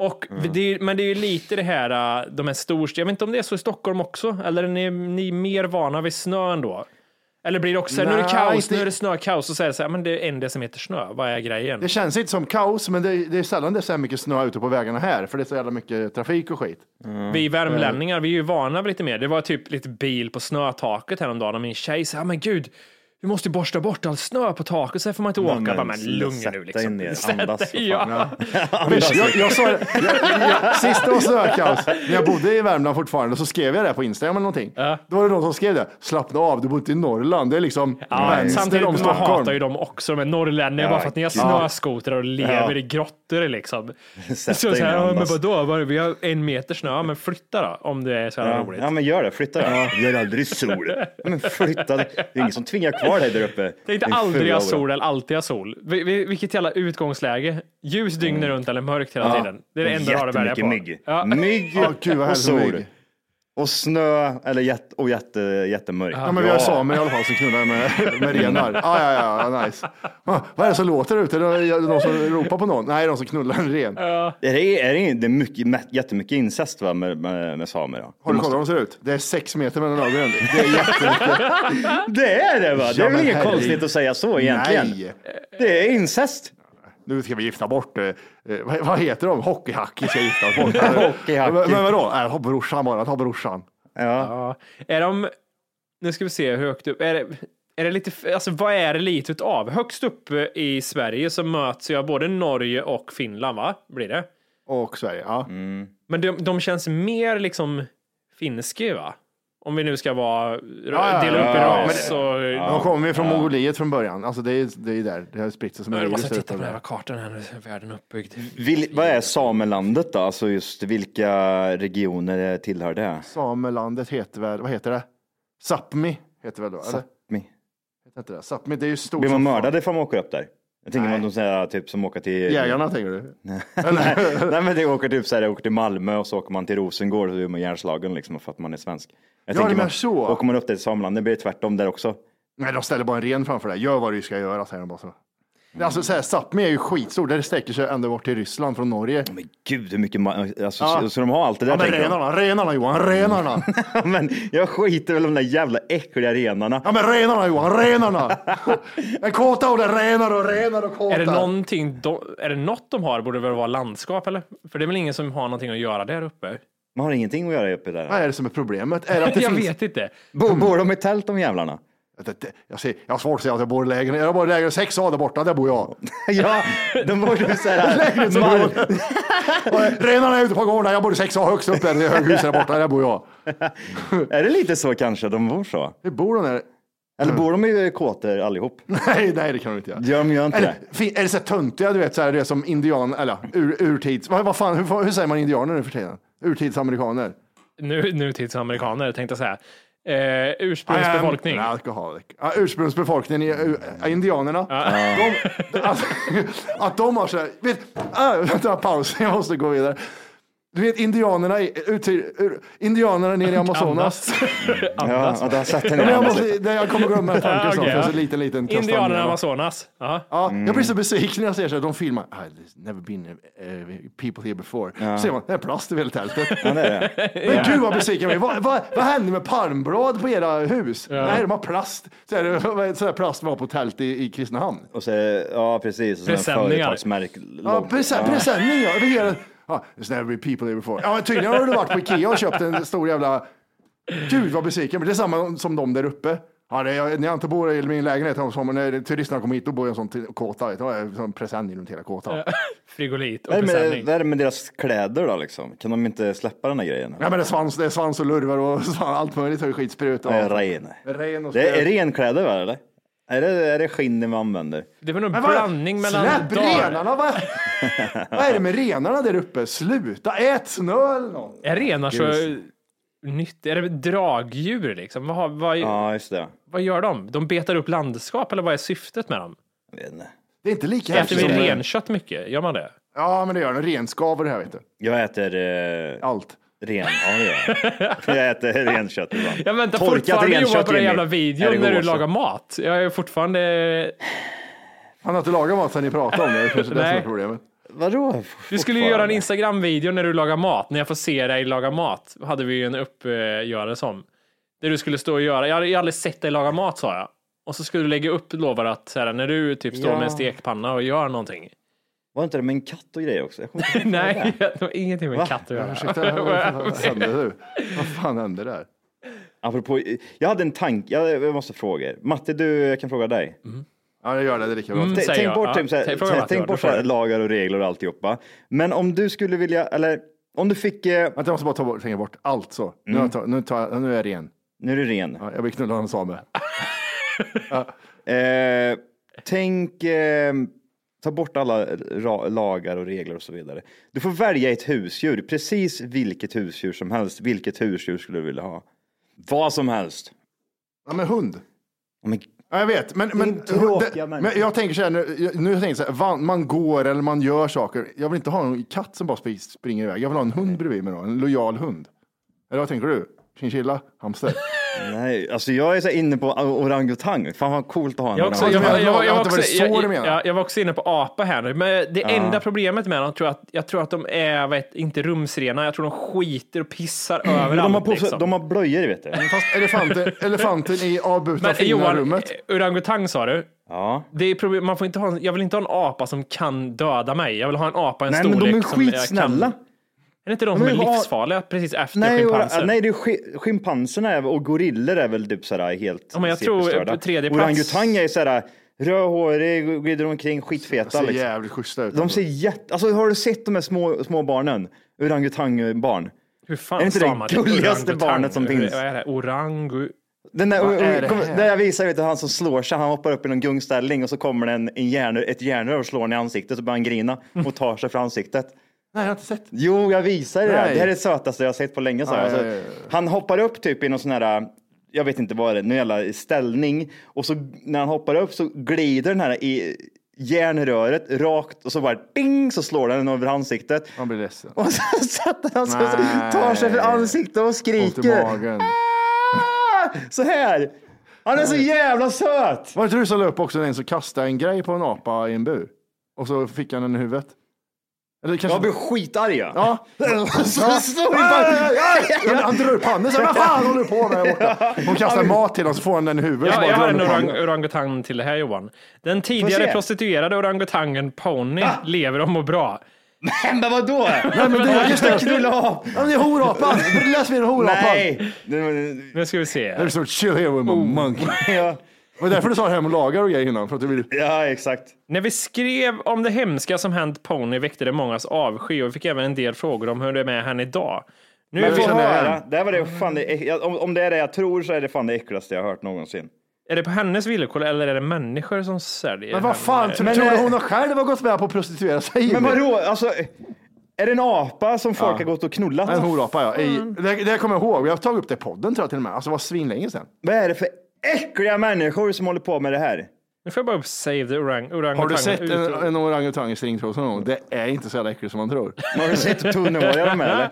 S2: Och
S1: Mm.
S2: det är, men det är ju lite det här, eh, de här storstäderna, jag vet inte om det är så i Stockholm också, eller är ni, ni mer vana vid snö ändå? Eller blir det också så här, nu är det
S1: Nej,
S2: kaos,
S1: inte-
S2: nu är det snökaos, och så är det så här, men det är en decimeter snö, vad är grejen?
S1: Det känns inte som kaos, men det, det är sällan det är så här mycket snö ute på vägarna här, för det är så jävla mycket trafik och skit.
S2: Vi värmlänningar, vi är ju vana vid lite mer. Det var typ lite bil på snötaket häromdagen och min tjej sa, "Ah, men gud, du måste ju borsta bort all snö på taket, så här får man inte åka.
S3: men
S2: Men, bara, men
S3: sluta,
S2: lugn
S3: sätta
S2: nu
S3: dig
S2: liksom. (laughs)
S3: ner,
S2: Sätt
S3: andas
S2: dig,
S3: för fan.
S2: ja.
S1: Bitch, jag, jag sa
S2: (laughs)
S1: det, jag, jag, sist det var snökaos, när jag bodde i Värmland fortfarande, så skrev jag det på Instagram eller någonting. Då var det någon som skrev det, slappna av, du bor inte i Norrland, det är liksom
S2: Ja,
S1: vänster
S2: samtidigt
S1: om
S2: man
S1: Stockholm.
S2: hatar ju dem också, de är norrlänningar bara för att ni har snöskotrar och lever i
S3: (laughs)
S2: grottor liksom. Så,
S3: Sätt
S2: så
S3: dig
S2: här,
S3: ner,
S2: ja, men
S3: andas."
S2: vadå, Var- vi har en meter snö, Ja, men flytta då om det är så här
S3: Ja,
S2: roligt.
S3: ja, men gör det. Flytta det. Gör aldrig sol. Men flytta. Det är ingen som tvingar kvar dig där uppe.
S2: Det är inte
S3: Din
S2: aldrig
S3: fula
S2: jag
S3: aura.
S2: sol eller alltid jag sol. Vi- vi- Vilket jävla utgångsläge. Ljus dygnet runt eller mörkt hela tiden. Det är det enda du har att välja på.
S3: Jättemycket mygg.
S2: Ja.
S3: Mygg
S1: Ja, gud, vad
S3: och
S1: hellre mygg.
S3: sol. Och snö eller jätte, och jätte, jättemörkt.
S1: Ja, men vi har samer i alla fall som knullar med, med renar.
S2: Mm.
S1: Ah, ja, ja, ja, nice. Ah, vad är det som låter där ute? Är det är någon som ropar på någon? Nej, det är någon som knullar en ren.
S3: Är det, är det, det är mycket, mä- jättemycket incest va, med, med, med samer. Ja.
S1: Har du kollat hur de ser ut? Det är sex meter mellan ögonen. Det är jättemycket.
S3: Det är det va? Det är
S1: Ja,
S3: väl
S1: men
S3: inget
S1: herregud.
S3: konstigt att säga så egentligen.
S1: Nej.
S3: Det är incest.
S1: nu ska vi gifta bort, eh, eh, vad, vad heter de, hockeyhacke ska giftas bort.
S3: Hockeyhacke.
S1: men, men vadå, äh, ta brorsan bara, ta brorsan.
S3: Ja.
S2: Ja. Är de, nu ska vi se hur högt upp, är det, är det lite, alltså vad är det lite utav? Högst upp i Sverige så möts jag både Norge och Finland va? Blir det?
S1: Och Sverige, ja.
S2: Men de, de känns mer liksom finska va? Om vi nu ska vara,
S1: ja,
S2: dela upp i
S1: ja,
S2: ras
S1: men-
S2: och...
S1: De kommer ju från Mongoliet från början, alltså det är, det är där, det har spritt sig som en
S2: Jag måste
S1: virus.
S2: titta på
S1: utan-
S2: den här kartan här nu, hur världen är uppbyggd.
S3: Vil, vad är samelandet då? Alltså just vilka regioner tillhör det?
S1: Samelandet heter väl, vad heter det? Sápmi heter väl då, eller?
S3: Sápmi.
S1: Heter inte det? Sápmi, det är ju stort.
S3: Blir man
S1: som fan.
S3: mördad ifall man åker upp där? Jag tänker man de säger typ som åker till... (laughs)
S1: Jägarna (laughs) tänker du?
S3: Nej men det åker typ så här, jag åker till Malmö och så åker man till Rosengård och så är man ihjälslagen liksom för att man är svensk. Jag
S1: Ja,
S3: tänker
S1: det menar
S3: man,
S1: så.
S3: Åker man upp till samelandet blir det tvärtom där också.
S1: Nej, de ställer bara en ren framför dig. Gör vad du ska göra, säger de bara så. Alltså så här, Sápmi är ju skitstor, det sträcker sig ända bort till Ryssland från Norge.
S3: Men gud hur mycket man, alltså,
S1: Ja.
S3: så, så de har allt det där
S1: Ja, men
S3: tänker (laughs) jag.
S1: renarna, renarna Johan, renarna!
S3: men jag skiter väl i de där jävla äckliga renarna.
S1: Ja men renarna Johan, renarna! En kåta och det renar och renar och kåta.
S2: Är det, någonting de, är det något de har borde det väl vara landskap eller? För det är väl ingen som har någonting att göra där uppe?
S3: Man har ingenting att göra uppe där.
S1: Vad är det som är problemet? Är det att det
S2: (laughs) Jag
S1: finns...
S2: vet inte.
S3: Bor, bor de i tält de jävlarna? (laughs)
S1: Det- det- Jag, ser, jag har svårt att säga att jag bor i lägenhet. Jag bor i lägenhet sex A där borta, där bor jag.
S3: ja, de bor ju så
S1: (laughs)
S3: här.
S1: Lägenhetsområde. Och Renarna är ute på gården, jag bor i sex A högst upp där, det är höghuset där borta, där bor jag.
S3: är det lite så kanske de bor så?
S1: Hur bor de där? (laughs)
S3: Eller
S1: Mm.
S3: bor de i kåtor allihop?
S1: Nej, nej, det kan de inte göra.
S3: Gör de ju inte
S1: Eller,
S3: det?
S1: fin- är det så här töntiga, du vet, så här, det är som indian, eller ur, urtids... Vad, vad fan, hur, hur säger man indianer nu för tiden? Urtidsamerikaner?
S2: Nu, nutidsamerikaner tänkte jag säga. Eh, ursprungsbefolkning.
S1: Nej, alkoholik. Ja, ursprungsbefolkningen, i, uh, indianerna. De, att, (laughs) att de har så här, vet, äh, vänta, paus, jag måste gå vidare. Du vet indianerna, i, ut, ur, indianerna nere i Amazonas. (laughs)
S3: Ja, ja, du har sett den
S1: Men jag,
S3: här.
S1: måste, det, jag kommer glömma den tanken
S2: (laughs) Ja,
S1: snart,
S2: okej,
S1: för jag är
S2: ja.
S1: så liten, liten
S2: Indianerna i
S1: kastanjerna.
S2: Amazonas.
S1: (laughs)
S2: Ja.
S1: Ja, Jag blir så besviken när jag ser så här, de filmar, I've never been eh, people here before. Så ser man, det är plast i hela tältet.
S3: Ja, det är det.
S1: Men gud vad besviken jag blir. Vad, vad, vad hände med palmblad på era hus? Nej, de har plast. Så är det, vad är det, sån där plast var på tält i, i Kristinehamn.
S3: Och så, ja, precis. Och så
S2: Presenningar.
S3: Företagsmärk.
S1: Ja, presen- presenning ja. Över hela... Ja, it's never been people here before. Ja, men tydligen har du varit på Ikea och köpt en stor jävla... Gud vad besviken. Men det är samma som de där uppe. Ja, det, jag, när jag inte bor i min lägenhet här om sommaren, när turisterna kommer hit, då bor jag i en sån t- kåta. vet du. Det är en sån presenning runt hela kåtan.
S2: Frigolit och
S3: Vad är det
S2: presenning.
S3: med- vad är det med deras kläder då liksom? Kan de inte släppa den här grejen?
S1: Ja, men det är svans, det är svans och lurvar och (laughs) allt möjligt. har ju Skitsprut och...
S3: Det är ren.
S1: Ren och
S3: Det är
S1: spöt.
S3: renkläder va, eller? Är det, är det skinn man använder?
S2: Det var nog
S1: Men
S2: en
S1: vad-
S2: blandning mellan
S1: Släpp
S2: dagar.
S1: renarna! Vad, (laughs) vad är det med renarna där uppe? Sluta! Ät snö eller något.
S2: Är renar så nytt? Är det dragdjur liksom? Vad, har- vad,
S3: Ja, just det.
S2: vad gör de? De betar upp landskap eller vad är syftet med dem?
S3: Jag vet inte.
S1: Det är inte lika
S2: Äter
S1: häftigt
S2: vi
S1: som...
S2: renkött mycket? Gör man det?
S1: Ja, men det gör det. Renskav och det här vet du.
S3: Jag äter eh,
S1: Allt.
S3: ren. Ja, det gör
S2: (laughs)
S3: jag. jag äter renkött ibland.
S2: Jag väntar fortfarande Johan på den
S3: Jimmy.
S2: jävla
S3: Är det
S2: videon när du
S3: gås?
S2: lagar mat. Jag är fortfarande...
S1: Han har inte lagat mat sen ni pratade om det. Det är kanske det som är
S2: Nej.
S1: problemet.
S3: Vadå?
S2: Du skulle ju göra en Instagram-video när du lagar mat, när jag får se dig laga mat. Hade vi ju en uppgörelse om. Där du skulle stå och göra, jag har ju aldrig sett dig laga mat sa jag. Och så skulle du lägga upp, lovar att så här, när du typ står med en stekpanna och gör (laughs) någonting.
S3: Var inte det med en katt och grejer också? Jag kommer inte ihåg
S2: Nej,
S3: det.
S2: det har ingenting med
S3: Va?
S2: katt att göra.
S1: Ursäkta, vad hände nu? Vad fan hände där?
S3: Apropå, jag hade en tanke, jag jag måste fråga er. Matte, du, jag kan fråga dig.
S1: Ja, jag gör det. Det är lika bra.
S3: T-
S2: säger
S3: tänk
S2: jag.
S3: bort,
S2: Ja,
S3: typ, såhär, tänk,
S2: tänk- fråga Matte, ja,
S3: bort
S2: du får
S3: såhär,
S2: det.
S3: lagar och regler och alltihopa. Men om du skulle vilja, eller om du fick, eh,
S1: Vänta, jag måste bara ta bort, tänka bort allt så. Nu,
S2: Mm.
S1: har jag ta, nu, tar, jag- nu är jag ren.
S3: nu är du ren.
S1: Ja, Jag vill knulla en same.
S3: Eh, tänk, eh, ta bort alla ra- lagar och regler och så vidare. Du får välja ett husdjur, precis vilket husdjur som helst. Vilket husdjur skulle du vilja ha? Vad som helst.
S1: Ja, men hund.
S3: Ja, Men,
S1: Ja, jag vet, men, men,
S3: tråkiga
S1: det,
S3: människor.
S1: men jag tänker så här, nu, nu tänker jag så här, van, man går eller man gör saker. Jag vill inte ha en katt som bara sp- springer iväg. Jag vill ha en hund bredvid mig då, en lojal hund. Eller vad tänker du? Chinchilla?
S3: (laughs)
S1: Hamster?
S3: nej, alltså jag är så här inne på orangutang. Fan vad coolt att ha en
S2: Jag, också,
S3: orangutang.
S2: jag, jag, jag,
S1: Jag
S2: jag,
S1: har inte
S2: var också,
S1: varit så
S2: jag,
S1: du
S2: jag,
S1: menar.
S2: jag, var också inne på apa här nu, men det enda problemet med dem tror jag att, jag tror att de är, vet, inte rumsrena, jag tror de skiter och pissar överallt.
S3: Mm, De har, på sig,
S2: liksom.
S3: de har blöjor vet du.
S1: Fast elefanten, elefanten i avbrutna
S2: men
S1: fina
S2: Johan,
S1: rummet.
S2: eh, orangutang sa du?
S3: Ja.
S2: Det är problem, man får inte ha en, jag vill inte ha en apa som kan döda mig. Jag vill ha en apa i en
S3: Nej
S2: storlek
S3: men de är
S2: som jag kan-
S3: skitsnälla.
S2: Är det inte de som är
S3: Men vad-
S2: livsfarliga precis efter
S3: Nej,
S2: schimpanser?
S3: och, nej det är sk- schimpanserna är, och gorillor är väl typ sådär helt
S2: Ja, men jag tror
S3: superstörda.
S2: på tredje plats-
S3: Orangutang är sådär rödhårig, och glider omkring, skitfeta.
S1: Ser
S3: Liksom.
S1: jävligt schyssta ut.
S3: De ser jätte... Alltså har du sett de här små, små barnen? Orangutangbarn.
S2: Hur fan
S3: Är inte
S2: stavar
S3: det
S2: man
S3: gulligaste
S2: Orangutang?
S3: barnet som finns?
S2: Vad är det? Orangu...
S3: Den där,
S1: Vad är det
S3: kom,
S1: här?
S3: där jag visar vet du, han som slår sig, han hoppar upp i någon gungställning och så kommer det en, en järn, ett järnrör och slår honom i ansiktet och börjar han grina och tar sig för ansiktet.
S1: Nej, jag har inte sett.
S3: Jo, jag visar det.
S1: Nej.
S3: Det här är det sötaste jag har sett på länge. Så här.
S1: Ja,
S3: Alltså,
S1: ja, ja, ja.
S3: Han hoppar upp typ i någon sån här, jag vet inte vad det är, någon jävla ställning. Och så när han hoppar upp så glider den här i järnröret rakt och så bara ding så slår den över ansiktet. (laughs)
S1: Man blir ledsen.
S3: Och så sätter han sig och så
S1: Nej.
S3: tar sig för ansiktet och
S1: Ont i
S3: skriker.
S1: magen.
S3: Ah! Så här. Han är så jävla söt.
S1: Var det inte du som la upp också en som kastade en grej på en apa i en bur? Och så fick han den i huvudet. Eller
S3: Jag blir
S1: kanske...
S3: skitarg. jag.
S1: Ja.
S3: Så
S1: Ja.
S3: står
S1: Aj,
S3: han-
S1: aj, aj, aj. Han drar upp handen så här, vad fan håller du på med där borta? Hon kastar mat till honom så får han den i huvudet. så
S2: Ja,
S1: bara
S2: jag
S1: drar
S2: har en
S1: han upp
S2: orang,
S1: handen.
S2: orangutang till det här Johan. Den
S3: Får
S2: tidigare
S3: se.
S2: prostituerade orangutangen Pony lever och mår bra.
S3: Men
S1: (laughs)
S3: vadå?
S1: Ah! Nej, men det, just det.
S3: Knulla av!
S1: Ja, men det
S3: (laughs)
S1: är horapan. Läs mer horapan.
S3: Nej! Oh. Det-
S2: Nu ska vi se.
S1: There's some chill here with my monkey.
S3: Ja,
S1: Var det därför du sa hem och lagar och grejer innan? För att du vill...
S3: ja exakt.
S2: När vi skrev om det hemska som hänt Pony väckte det mångas avsky och vi fick även en del frågor om hur det är med henne idag. Nu
S3: Men
S2: är,
S3: vi
S2: vi,
S3: får
S1: känner
S3: höra.
S1: igen.
S3: Det här var det fan det, äck- om, om det är det jag tror så är det fan det äckligaste jag har hört någonsin.
S2: är det på hennes villkor eller är det människor som säljer?
S1: Men vad
S2: henne?
S1: fan, tror,
S3: Men,
S1: tror du
S3: eh,
S1: hon har själv har gått med på att prostituera sig?
S3: Men vadå, alltså. Är det en apa som folk har gått och knullat?
S1: En horapa ja. I, det, det kommer jag ihåg. Jag har tagit upp det i podden tror jag till och med. Alltså det var svinlänge sedan.
S3: Vad är det för äckliga människor som håller på med det här?
S2: Nu får jag bara upp Save the orang, orang
S1: Har du sett en, en orangutang i stringtrosa någon gång? Det är inte så jävla äckligt som man tror.
S3: Har du sett hur tunnhåriga de är (laughs) eller?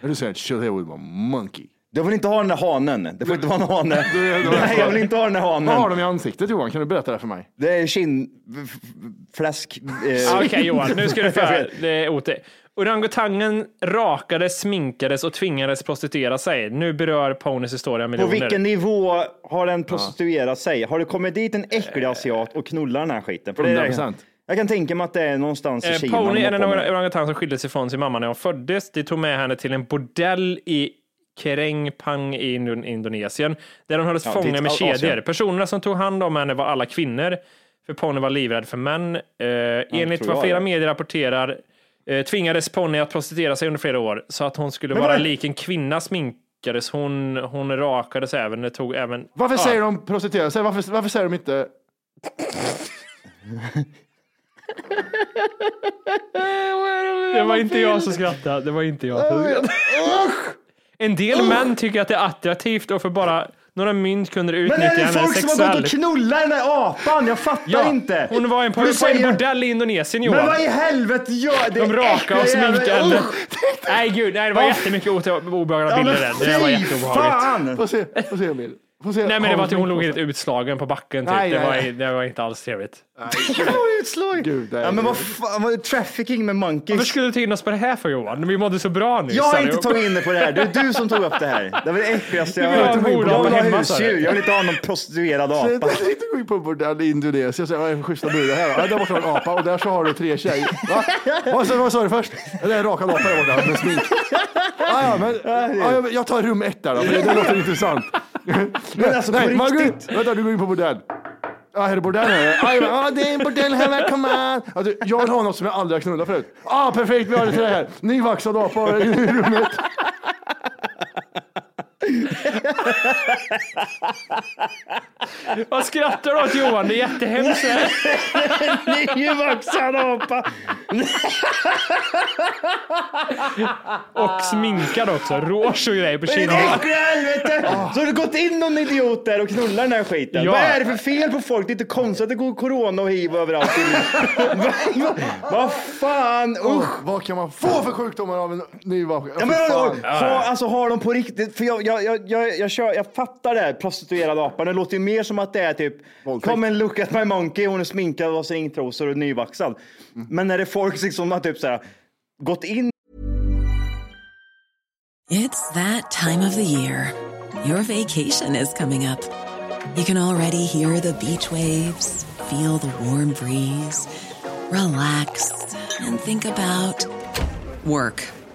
S1: Men Du säger shit here with my monkey.
S3: Jag vill inte ha den där hanen. Det får inte vara en hane.
S1: du-
S3: Nej, jag vill inte ha den där
S1: Vad har
S3: hanen.
S1: de i ansiktet Johan? Kan du berätta det för mig?
S3: Det är kinn... f- f- Fläsk... eh,
S2: Okej Johan,
S3: (laughs)
S2: nu ska du få höra. Det är OT. Orangutangen rakades, sminkades och tvingades prostituera sig. Nu berör Ponys historia
S3: På
S2: miljoner.
S3: vilken nivå har den prostituerat sig? Har det kommit dit en äcklig asiat och knullar den här skiten? För det är-
S1: 100%.
S3: Jag kan tänka mig att det är någonstans i
S2: Eh,
S3: Kina.
S2: Pony
S3: de
S2: är
S3: har
S2: den
S3: på med det.
S2: orangutang som skildes ifrån sin mamma när hon föddes. De tog med henne till en bordell i Kereng Pang i Indon- Indonesien där hon hölls
S3: Ja,
S2: fången
S3: dit-
S2: med
S3: A-
S2: kedjor.
S3: Asien.
S2: Personerna som tog hand om henne var alla kvinnor, för Pony var livrädd för män. Eh, enligt
S3: tror
S2: vad
S3: jag,
S2: flera
S3: ja.
S2: medier rapporterar eh, tvingades Pony att prostituera sig under flera år så att hon skulle
S3: Men
S2: vara
S3: vad-
S2: lik en kvinna sminkades. Hon, hon rakades även, det tog även...
S1: Varför
S2: Ja.
S1: säger de prostituera sig? Varför, varför säger de inte
S2: Det var inte jag som skrattade. Det var inte jag som skrattade. En del män tycker att det är attraktivt och för bara några mynt kunde de
S3: Men
S2: utnyttja
S3: är det
S2: henne
S3: folk som har gått
S2: sexuellt.
S3: och knullat den där apan? Jag fattar inte.
S2: Hon var en på,
S3: Du
S2: på en
S3: säger-
S2: bordell i Indonesien Johan.
S3: Men vad i helvete gör det?
S2: De raka och
S3: äckliga jävla-
S2: sminkade.
S3: Usch!
S2: Nej gud, nej, det var
S3: Ja.
S2: jättemycket ote- obehagliga
S3: Ja, men
S2: bilder där. Det var
S3: fy
S2: jätteobehagligt.
S3: fan! alltså.
S1: Få se, få se en bild. Få se.
S2: Nej men det var att hon låg
S1: i
S2: helt utslagen på backen typ.
S1: Nej,
S2: det,
S1: nej,
S2: var,
S1: nej.
S2: det var inte alls trevligt.
S3: Utslag.
S1: Gud, det är
S3: ja, men
S1: det.
S3: vad fan, vad är trafficking med
S2: Varför
S3: monkeys?
S2: skulle du ta in oss på det här för Johan? Vi mådde så bra nyss.
S3: Jag har inte
S2: allihop.
S3: tagit in det på det här. Det är du som tog upp det här. Det var det äckligaste jag
S2: Du vill ha
S3: hört.
S2: en
S3: Jag vill
S2: mordapa
S3: ha
S2: hemma, sa du.
S3: husdjur. Jag vill inte ha någon prostituerad
S1: Jag
S3: apa.
S1: tänkte gå in på en bordell i Indonesien och säga, vad är det för schyssta burar här? då?" Ja, där borta har du en apa och där så har du tre tjejer. Va? Vad sa- Vad sa du först? Ja, Det är en rakad apa där borta med smink. Ja, ja, men, ja, jag- jag tar rum ett där då, för det, det låter intressant.
S3: Men alltså på
S1: Nej, man går in,
S3: riktigt.
S1: vänta, du går in på bordell. Ja, här är det bordell här. Ja, jajamän. Ja, det är en bordell här, välkommen. Ja, du, jag vill ha något som jag aldrig har knullat förut. Ja, perfekt, vi har det till det här. Nyvaxad apa i rummet.
S2: Vad skrattar du åt Johan? Det är jättehemskt.
S3: (laughs)
S2: det här.
S3: Nyvaxad apa.
S2: Och
S3: (laughs)
S2: sminkad också. Rouge och grejer på
S3: Det Ah. är
S2: kinderna.
S3: ett äckliga helvete! Så har du gått in någon idiot där och knullar den här skiten.
S2: Ja.
S3: Vad är det för fel på folk? Det är inte konstigt att det går corona och hiv överallt. (laughs) Vad- vad- Vad fan, usch!
S1: Vad kan man få för sjukdomar av en nyvaxad?
S3: Ja, men, ha, alltså har de på riktigt, för jag, jag, jag, jag, jag, kör, jag fattar det här prostituerad apan, det låter ju mer som att det är typ
S1: Våldtäkt.
S3: Come and look at my monkey, hon är sminkad och har stringtrosor och nyvaxad. Men när det är folk liksom har typ så här, gått in
S5: It's that time of the year. Your vacation is coming up. You can already hear the beach waves, feel the warm breeze, relax, and think about work.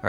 S6: All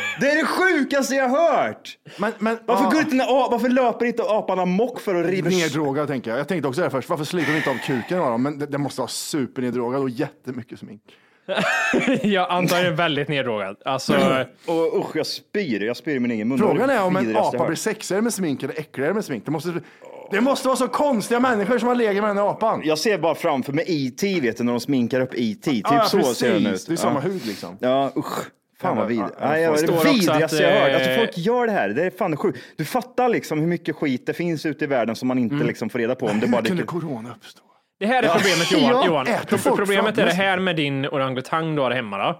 S3: det är det sjukaste jag hört.
S1: men, men,
S3: Varför,
S1: ja.
S3: går inte den här, a- varför löper inte apan amok för att riva
S1: Neddrogad tänker jag. Jag tänkte också det här först. Varför sliter de inte av kuken av dem? Men det, det måste vara superneddrogad och jättemycket smink.
S2: (laughs) jag antar den är väldigt nedrågad. Alltså,
S3: Och usch, jag spyr. Jag spyr i min egen mun.
S1: Frågan är om
S3: Det
S1: en
S3: vidrigaste jag
S1: apa
S3: hört.
S1: blir sexigare med smink eller äckligare med smink. Det måste, det måste vara så konstiga människor som har legat med den här apan.
S3: Jag ser bara framför mig E.T. vet du, när de sminkar upp E.T. Typ
S1: Ja,
S3: så ser den ut.
S1: Det är
S3: ja.
S1: samma hud liksom.
S3: Ja, usch. Fan vad vidrigt.
S1: Ja,
S3: Nej, jag- Det
S2: står
S3: är
S2: också
S3: det vidrigaste jag
S2: att,
S3: har hört.
S2: eh,
S3: Alltså folk gör det här. Det är fan sjukt. Du fattar liksom hur mycket skit det finns ute i världen som man inte liksom får reda på. Om det bara
S1: Hur Mm. (laughs) kunde
S3: dyker...
S1: corona uppstå?
S2: det här är problemet Johan.
S1: Ja,
S2: Johan
S1: äter folk
S2: problemet är det
S1: framför sig?
S2: här med din orangutang du har hemma då.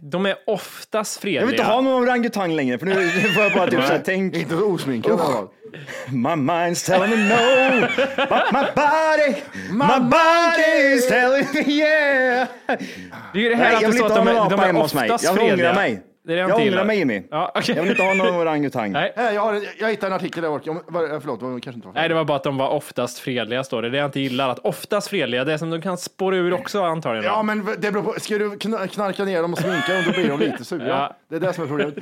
S2: De är oftast fredliga.
S3: Mm. Jag vill inte ha någon orangutang längre för nu
S1: (laughs)
S3: får jag bara typ såhär tänk.
S1: Inte så osminkad i alla fall.
S3: My mind's telling me no, but my body, my body is telling me yeah.
S2: Det är ju det här
S3: Nej,
S2: att
S3: jag
S2: du
S3: vill
S2: sa
S3: inte
S2: att de
S3: ha någon
S2: är, de
S3: apa
S2: är
S3: hemma hos mig.
S2: oftast
S3: Jag
S2: fredliga.
S3: ångrar mig.
S2: Det är det
S3: Jag
S2: inte
S3: ångrar
S2: gillar.
S3: mig, Jimmy.
S2: Ja, okej.
S3: Jag vill inte ha någon orangutang.
S2: Nej.
S1: Nej, jag, har, jag hittade en artikel där jag orkar. om- vad- eh, Förlåt, det kanske inte var
S2: Nej, det var bara att de var oftast fredliga står det. Det jag inte gillar, att oftast fredliga, det är som de kan spåra ur också antagligen.
S1: Ja, men det beror på. Ska du kna- knarka ner dem och sminka dem, då blir de lite (laughs) sura.
S2: Ja.
S1: Det är det som är problemet.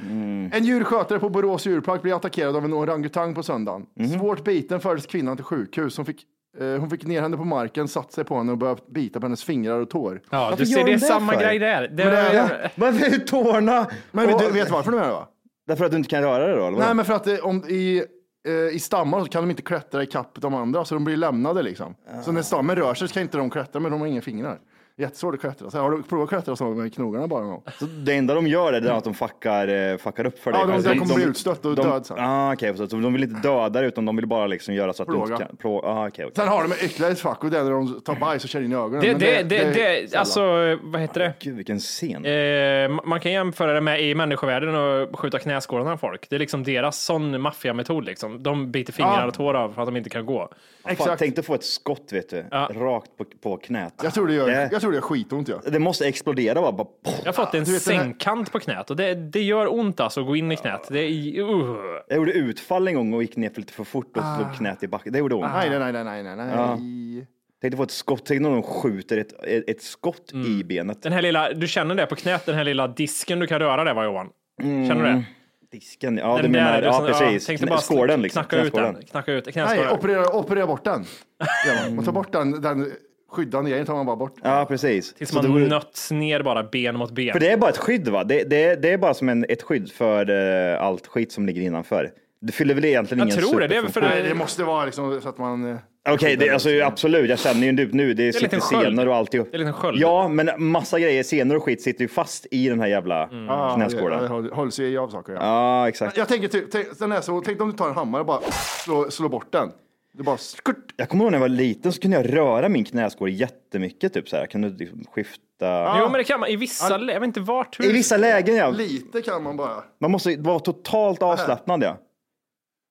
S1: En djurskötare på Borås djurpark blev attackerad av en orangutang på söndagen. Svårt biten fördes kvinnan till sjukhus. Hon fick, eh, hon fick ner henne på marken, satt sig på henne och började bita på hennes fingrar och tår.
S2: Ja, du
S3: Varför
S2: ser,
S3: gör
S2: det är
S3: de det
S2: samma
S3: för?
S2: grej där. Det
S1: det är
S2: är,
S1: det.
S3: Varför är tårna?
S1: Men
S3: Och-
S1: du vet du varför de gör det va?
S3: Därför att du inte kan röra dig då? Eller vadå?
S1: Nej, men för att eh, om, i, eh, i stammar så kan de inte klättra i kapp de andra, så de blir lämnade liksom. Så när stammen rör sig så kan inte de klättra, men de har inga fingrar. Jättesvårt att klättra. Så här, har du provat att klättra så med knogarna bara någon gång?
S3: Så det enda de gör är det att de fuckar, eh, fuckar upp för
S1: Ja,
S3: dig.
S1: de- de kommer bli utstött och
S3: de-
S1: död sen.
S3: Ah, okay, så de vill inte döda dig utan de vill bara liksom göra så att du
S1: Plåga.
S3: inte kan... Plå, ah, okay, okay.
S1: Sen har de ytterligare ett fack och det är när de tar bajs och kör in i ögonen.
S2: det,
S1: men
S2: det, det, det,
S1: sällan.
S2: alltså, vad heter det?
S3: Gud vilken scen.
S2: Eh, ma- man kan jämföra det med i människovärlden och skjuta knäskålarna av folk. Det är liksom deras sån maffiametod liksom. De biter fingrar
S1: Ja.
S2: och tår av för att de inte kan gå.
S3: Fan,
S1: Exakt.
S3: tänk dig få ett skott vet du,
S2: Ja.
S3: rakt på, på knät.
S1: Jag tror det gör,
S3: Det-
S1: jag tror det gör skitont. Ja.
S3: Det måste explodera bara. bara
S2: Jag har fått en
S1: Du vet den här-
S2: sängkant på knät och det, det gör ont alltså att gå in i knät. Det är, uh.
S3: jag gjorde utfall en gång och gick ner för lite för fort och
S2: Ah.
S3: slog knät i backen. Det gjorde ont.
S1: Nej, nej, nej, nej, nej, nej, nej.
S3: Tänk dig få ett skott, tänk dig när de skjuter ett, ett, ett skott
S2: Mm.
S3: i benet.
S2: Den här lilla, du känner det på knät, den här lilla disken du kan röra där va Johan? Känner du det?
S3: Disken, Mm. ja du
S2: den där, liksom-
S3: menar,
S2: du
S3: ja
S2: som-
S3: precis.
S2: tänkte
S3: Knä-
S2: bara
S3: skålen liksom.
S2: Knacka ut
S3: knäskålen.
S2: den. Knacka ut
S1: Nej,
S2: knäskålen.
S1: operera, operera bort den. Ja, man tar bort den, den skyddande grejen, tar man bara bort.
S3: Ja precis.
S2: Tills
S3: Så det
S2: man
S3: vore-
S2: nöts ner bara ben mot ben.
S3: För det är bara ett skydd va? Det, det, det är bara som en, ett skydd för eh, allt skit som ligger innanför. Det fyller väl egentligen
S2: jag
S3: ingen
S2: tror det. Det är väl
S3: superfunktion.
S2: för
S1: Nej, det måste vara liksom så att man... eh,
S3: Okej, det- alltså, absolut. Jag känner ju typ nu, det
S2: en
S3: sitter
S2: liten sköld.
S3: senor och alltihop.
S2: Det är en liten sköld.
S3: Ja, men massa grejer, senor och skit sitter ju fast i den här jävla
S2: Mm.
S1: ja,
S3: knäskålen.
S1: det
S3: Ah, Ja,
S1: håll- Hålls ju av saker. Ja.
S3: exakt.
S1: Jag tänker typ, tänk, den är så, tänk om du tar en hammare och bara slår slå bort den. Det bara skurt.
S3: Jag kommer ihåg när jag var liten så kunde jag röra min knäskål jättemycket. Typ så här. Jag kunde liksom skifta.
S2: Jo, men det kan man. I vissa, lä- jag vet inte vart. Hur,
S3: I vissa lägen ja.
S1: Lite kan man bara.
S3: Man måste vara totalt avslappnad ja.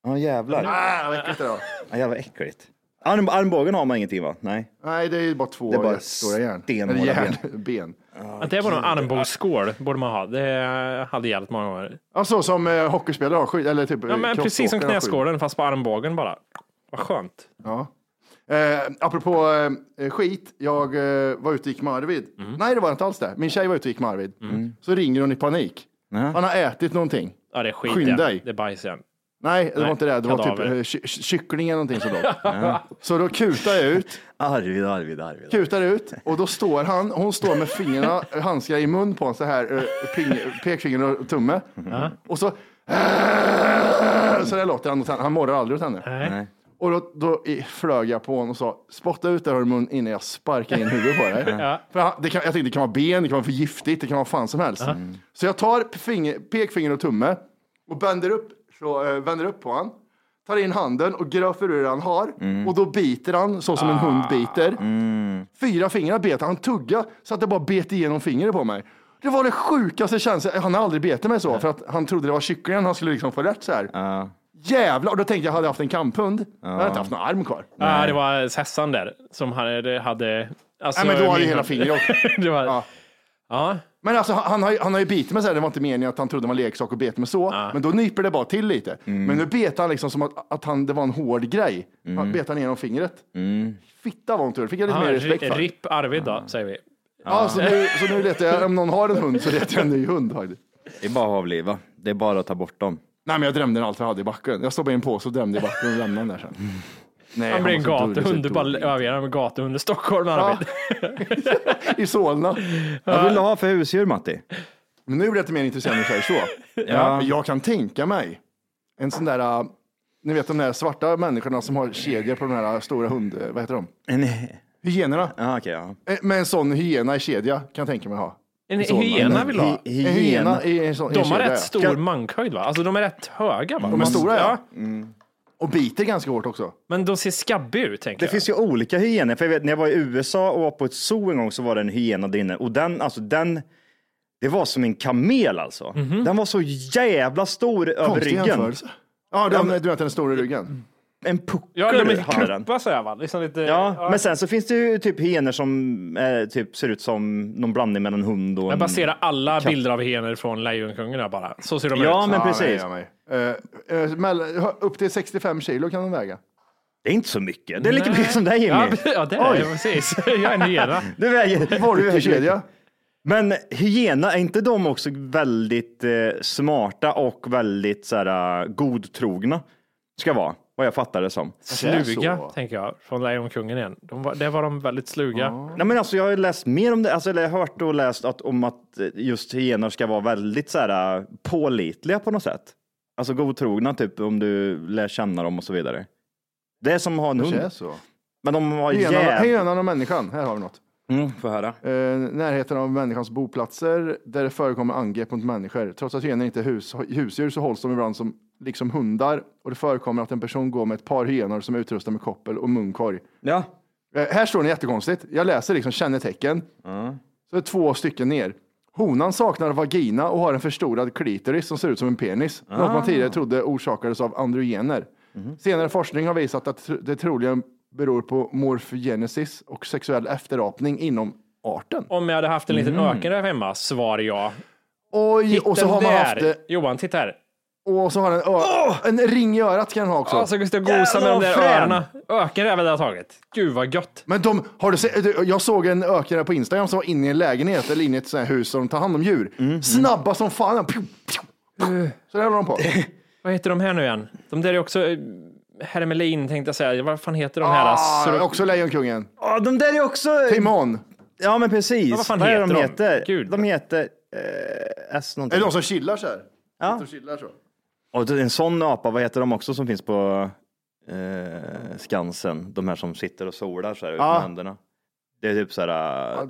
S3: Ja jävlar.
S1: Ah, det räcker inte då.
S3: Ja, jävla äckligt. Arm, armbågen har man ingenting va? Nej.
S1: Nej, det är ju bara två
S3: Det är bara
S1: stora järn.
S3: stenhårda
S1: Eller järn. ben.
S2: att det var någon armbågsskål borde man ha. Det hade hjälpt många gånger.
S1: Ja, så som eh, hockeyspelare har skydd. Eller typ
S2: Ja, men precis som
S1: crossåkare har skydd.
S2: knäskålen fast på armbågen bara. Vad skönt.
S1: Ja. Eh, apropå eh, skit, jag eh, var ute och gick med Arvid. Nej, det var inte alls det. Min tjej var ute och gick med Arvid. Så ringer hon i panik. Han har ätit någonting.
S2: Ja, det är skit
S1: Skynda
S2: igen.
S1: dig.
S2: Det är bajs igen.
S1: Nej, det var inte det. Det var typ
S2: kadaver.
S1: eh, ky- kyckling eller någonting som låg. Så då kutar jag ut,
S3: Arvid, Arvid, Arvid.
S1: kutar ut och då står han, hon står med fingrarna, eh, handskar i mun på honom så här, eh, ping- pekfinger och tumme. Och så, så där låter han åt henne. Han morrar aldrig åt henne.
S3: Nej.
S1: Och då, då i- flög jag på honom och sa, spotta ut det här ur munnen innan jag sparkar in huvudet på dig. För han, det kan, jag tänkte det kan vara ben, det kan vara för giftigt, det kan vara fan som helst. Så jag tar finger, pekfinger och tumme och bänder upp, så, eh, vänder upp på honom. Tar in handen och gröper ur det han har och då biter han så som en hund biter. Fyra fingrar bet han, han tugga så att det bara bet igenom fingret på mig. Det var det sjukaste känslan, han har aldrig betit mig så för att han trodde det var kycklingen han skulle liksom få rätt så här. Jävlar! Och då tänkte jag, hade jag haft en kamphund, då hade jag inte haft någon arm kvar. Nej,
S2: Ja, det var hässan där som hade... hade alltså,
S1: men då hade ju
S2: min-
S1: hela fingret åkt.
S2: (laughs) det var,
S1: Ja.
S2: ja.
S1: Men alltså, han, han har, ju- han har ju bitit mig så här, det var inte meningen att han trodde det var en leksak och bet mig så, men då nyper det bara till lite. Men nu bet han liksom som att, att han, det var en hård grej. Han bet han igenom fingret. Fitta var hon tur, fick jag lite
S2: Ja,
S1: mer respekt
S2: ri-
S1: för.
S2: Ripp Arvid då, säger vi.
S1: Ja, så, nu, så nu letar jag, om någon har en hund så letar jag en ny hund. faktiskt.
S3: Det är bara att avliva. Det är bara att ta bort dem.
S1: Nej, men jag drömde allt jag hade i backen. Jag stoppade in en påse och drömde i backen och lämnade den där sen. Nej,
S2: Han blir en
S1: var så dålig, så
S2: gatuhund. Du bara
S1: dålig.
S2: överger honom med gatuhund i Stockholm.
S1: Ja. (laughs)
S2: Arvid.
S1: I Solna.
S3: Vad vill du ha för husdjur Matti?
S1: Men nu blir jag lite mer intresserad när du säger så. ja. Eh, Jag kan tänka mig en sån där, äh, ni vet de där svarta människorna som har kedjor på de här stora hund, äh, vad heter de?
S3: En...
S1: Hyenorna.
S3: Ja, okej, ja.
S1: Eh, Med en sån hyena i kedja kan jag tänka mig ha.
S2: En
S1: Solna.
S2: hyena vill ha.
S3: Hy-
S1: En hyena i en sån i en
S2: De har
S1: kedja, ja.
S2: rätt stor mankhöjd va? Alltså de är rätt höga va?
S1: De är stora ja. Och biter ganska hårt också.
S2: Men de ser skabbiga ut tänker
S3: Det
S2: jag.
S3: finns ju olika hyenor. För jag vet, när jag var i USA och var på ett zoo en gång så var det en hyena där inne. Och den, alltså den, det var som en kamel alltså. Den var så jävla stor över
S1: Mhm. Konstig
S3: ryggen.
S1: jämförelse. Ja, de, du vet den stora ryggen.
S3: En puckel
S2: Ja, de
S3: har den.
S2: är knuppa sådär va? Liksom lite,
S3: Ja, men sen så finns det ju typ hyenor som eh, typ ser ut som någon blandning mellan en hund och en...
S2: Jag baserar alla bilder av hyenor från Lejonkungen här bara. Så ser de
S3: Ja,
S2: ut.
S3: men
S1: Ja,
S3: precis.
S1: nej, ja, nej. Eh, eh, mellan- hö- upp till 65 kilo kan de väga.
S3: Det är inte så mycket. Det är lika mycket som dig
S2: Ja, (laughs)
S3: Jimmy.
S2: ja det är det. Precis. Jag är en hyena.
S3: Du väger... du väger-
S1: Kedja.
S3: Men hyena, är inte de också väldigt eh, smarta och väldigt så här, eh, godtrogna? Ska vara, vad jag fattar (laughs) det som.
S2: Sluga, tänker jag, från Lejonkungen igen. De var, där var de väldigt sluga.
S3: Nej, men alltså, jag har ju läst mer om det, alltså, eller jag har hört och läst att, om att eh, just hyenor ska vara väldigt så här, eh, pålitliga på något sätt. Alltså godtrogna, typ om du lär känna dem och så vidare. Det är som att ha en
S1: Kanske är
S3: hund.
S1: så.
S3: Men de har
S1: Hyenan-
S3: jävligt...
S1: Hyenan och människan, här har vi något.
S3: Mm, får höra.
S1: Eh, närheten av människans boplatser där det förekommer angrepp mot människor. Trots att hyenor inte är hus, husdjur så hålls de ibland som, liksom hundar och det förekommer att en person går med ett par hyenor som är utrustade med koppel och munkorg.
S3: Ja.
S1: Eh, här står det jättekonstigt. Jag läser liksom kännetecken. Så är det två stycken ner. Honan saknar vagina och har en förstorad klitoris som ser ut som en penis. Något man tidigare trodde orsakades av androgener. Senare forskning har visat att tr- det troligen beror på morfogenesis och sexuell efterapning inom arten.
S2: Om jag hade haft en liten
S3: Mm.
S2: öken där hemma, svar ja.
S1: Oj, och så
S2: Den
S1: har man
S2: där.
S1: haft det.
S2: Johan, titta här.
S1: Och så har den ö- en ring i örat kan den ha också.
S2: Alltså, jag ska gosa med
S3: Jävlar,
S2: de där
S3: frän!
S2: öarna. Ökenräven det har tagit. Gud vad gött.
S1: Men de, har du sett, du, jag såg en ökare på Instagram som var inne i en lägenhet eller inne i ett sånt här hus som tar hand om djur. Snabba som fan. Pew, pew, pew. mm. (laughs) Så där håller de på.
S2: Vad heter de här nu igen? De där är också eh, Hermelin tänkte jag säga. Vad fan heter de här?
S1: Ah,
S2: Sur-
S1: också Lejonkungen.
S3: Ja, de där är också...
S1: Timon.
S3: Ja, men precis.
S2: Ja, vad fan
S3: är det
S2: heter
S3: de
S2: de?
S3: heter?
S2: Gud.
S3: De heter eh, S
S1: Är
S3: någonting.
S1: det de som chillar så här?
S3: Ja.
S1: De chillar så.
S3: Och det är en sån apa, vad heter de också som finns på eh, Skansen? De här som sitter och solar så här ut
S1: Ja.
S3: med händerna. Det är typ så här, eh,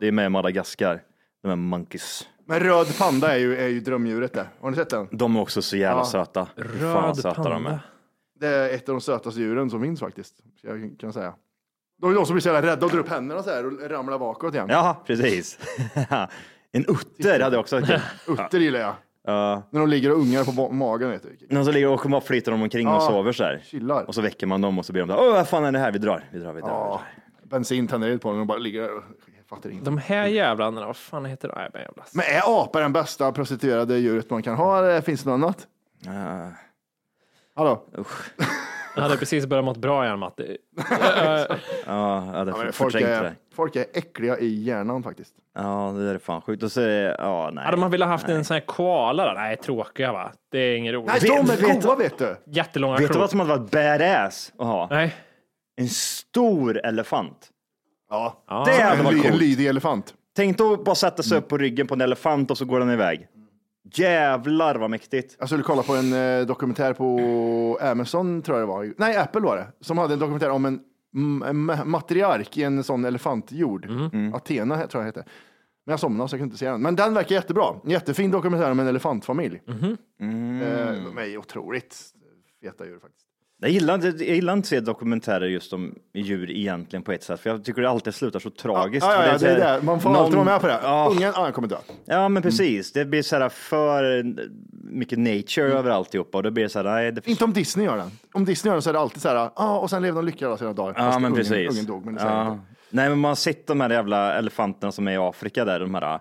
S3: det är med i Madagaskar. De här monkeys.
S1: Men röd panda är ju, är ju drömdjuret det. Har ni sett den?
S3: De är också så jävla
S1: Ja.
S3: söta. Hur fan vad
S2: Röd
S3: söta de är.
S2: panda.
S1: Det är ett av de sötaste djuren som finns faktiskt. ska Jag kan säga. De är de som blir så jävla rädda och drar upp händerna så här och ramlar bakåt igen.
S3: Ja, precis. (laughs) en utter hade jag
S2: (laughs)
S3: också varit kul.
S1: Utter gillar jag.
S3: Ja.
S1: När de ligger och ungar på ba- magen vet du.
S3: Någon som ligger och kommer och flyter dem omkring och
S1: Ja.
S3: sover så här.
S1: Chillar.
S3: Och så väcker man dem och så blir de där, åh vad fan är det här, vi drar, vi drar, vi drar. Vi
S1: Ja,
S3: drar.
S1: bensin tänder eld på dem och bara ligger där och jag fattar inte.
S2: De här jävlarna, vad fan heter de? Nej, men jävla-
S1: Men är apor den bästa prostituerade djuret man kan ha eller finns det något annat?
S3: Ja.
S1: Hallå?
S2: Jag hade precis börjat mått bra igen Matti. Eh,
S3: Ja, jag hade
S1: Ja, men folk,
S3: förträngt det.
S1: är,
S3: där.
S1: folk är äckliga i hjärnan faktiskt.
S3: Ja, det där är fan sjukt. Och så är det, ja nej.
S2: Hade man velat haft en sån här koala då? Nej, tråkiga va? Det är inget roligt.
S1: Nej,
S3: Vet-
S1: de är
S3: vet-
S1: goa vet du.
S2: Jättelånga
S3: Vet du
S2: klor.
S3: vad som hade varit badass att ha?
S2: Nej.
S3: En stor elefant.
S1: Ja,
S3: Det hade
S1: en,
S3: varit
S1: ly, en
S3: coolt.
S1: lydig elefant.
S3: Tänk då bara sätta sig upp på ryggen på en elefant och så går den iväg. Jävlar vad mäktigt.
S1: Jag skulle kolla på en eh, dokumentär på Amazon, tror jag det var. Nej, Apple var det. Som hade en dokumentär om en m- en ma- matriark i en sån elefantjord.
S3: Mm.
S1: Athena he- tror jag hette. Men jag somnade så jag kunde inte se den. Men den verkar jättebra. En jättefin dokumentär om en elefantfamilj.
S3: Mm.
S1: Eh, de är otroligt feta djur faktiskt.
S3: Jag gillar, inte- jag gillar inte att se dokumentärer just om djur egentligen på ett sätt, för jag tycker det alltid slutar så tragiskt.
S1: Ja,
S3: För
S1: ja, ja, det
S3: så
S1: är
S3: här-
S1: det. Man får
S3: någon-
S1: alltid vara med på det.
S3: Ja,
S1: Ungen, ah, han kommer dö.
S3: ja men precis. Det blir så här för mycket nature
S1: Mm.
S3: över alltihopa och då blir det så här, nej, det
S1: Inte om Disney gör den. Om Disney gör den så är det alltid så här, ah, och sen lever de lyckliga alla sina dagar.
S3: Ja,
S1: Fast
S3: men
S1: ungen,
S3: precis.
S1: Ungen dog, men det säger jag
S3: ja.
S1: inte.
S3: Nej, men man har sett de här jävla elefanterna som är i Afrika där, de här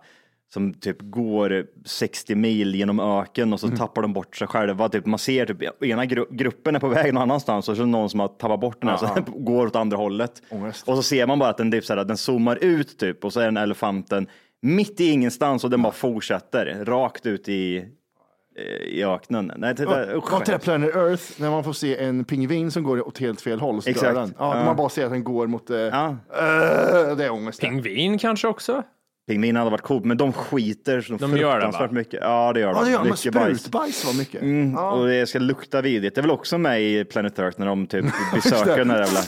S3: som typ går 60 mil genom öken och så
S1: Mm.
S3: tappar de bort sig själva. Typ, man ser typ ena gru gruppen är på (laughs) väg någon annanstans och så är det någon som har tappat bort den här, så den (laughs) går åt andra hållet.
S1: Ångest.
S3: Och så ser man bara att den, typ, så här, den zoomar ut typ och så är den elefanten mitt i ingenstans och den bara fortsätter rakt ut i eh, i öknen. Nej, titta, usch.
S1: Var inte det Planet Earth när man får se en pingvin som går åt helt fel håll och stör
S3: Exakt.
S1: den? Ja,
S3: Ja.
S1: Man bara ser att den går mot... Eh,
S3: Ja.
S1: eh, det är ångest.
S2: Pingvin kanske också?
S3: Pingvin hade varit coolt, men de skiter så
S2: De gör det, va?
S3: fruktansvärt mycket. Ja, det gör de.
S1: Ja, det gör man.
S3: Mycket bajs.
S1: Sprutbajs var mycket.
S3: Mm,
S1: Ja.
S3: Och det ska lukta vidigt. Det är väl också med i Planet Earth när de
S1: (laughs)
S3: typ besöker den här jävla...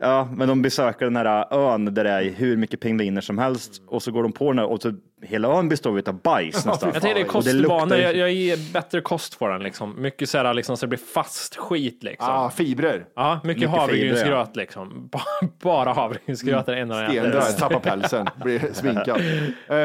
S3: Ja, men de besöker den här ön där det är hur mycket pingviner som helst och så går de på den här och så hela ön består ju av bajs nästan.
S2: Jag tänker det är
S3: Och
S2: kostvanor,
S3: ju-
S2: jag, jag ger bättre kost på den liksom. Mycket så här liksom så det blir fast skit liksom.
S1: Ah, fibrer.
S2: Ja, mycket,
S3: Mycket
S2: havregrynsgröt liksom. (laughs) Bara- Bara havregrynsgröt är det enda jag äter.
S1: Stendöd, tappar pälsen, blir sminkad. Eh,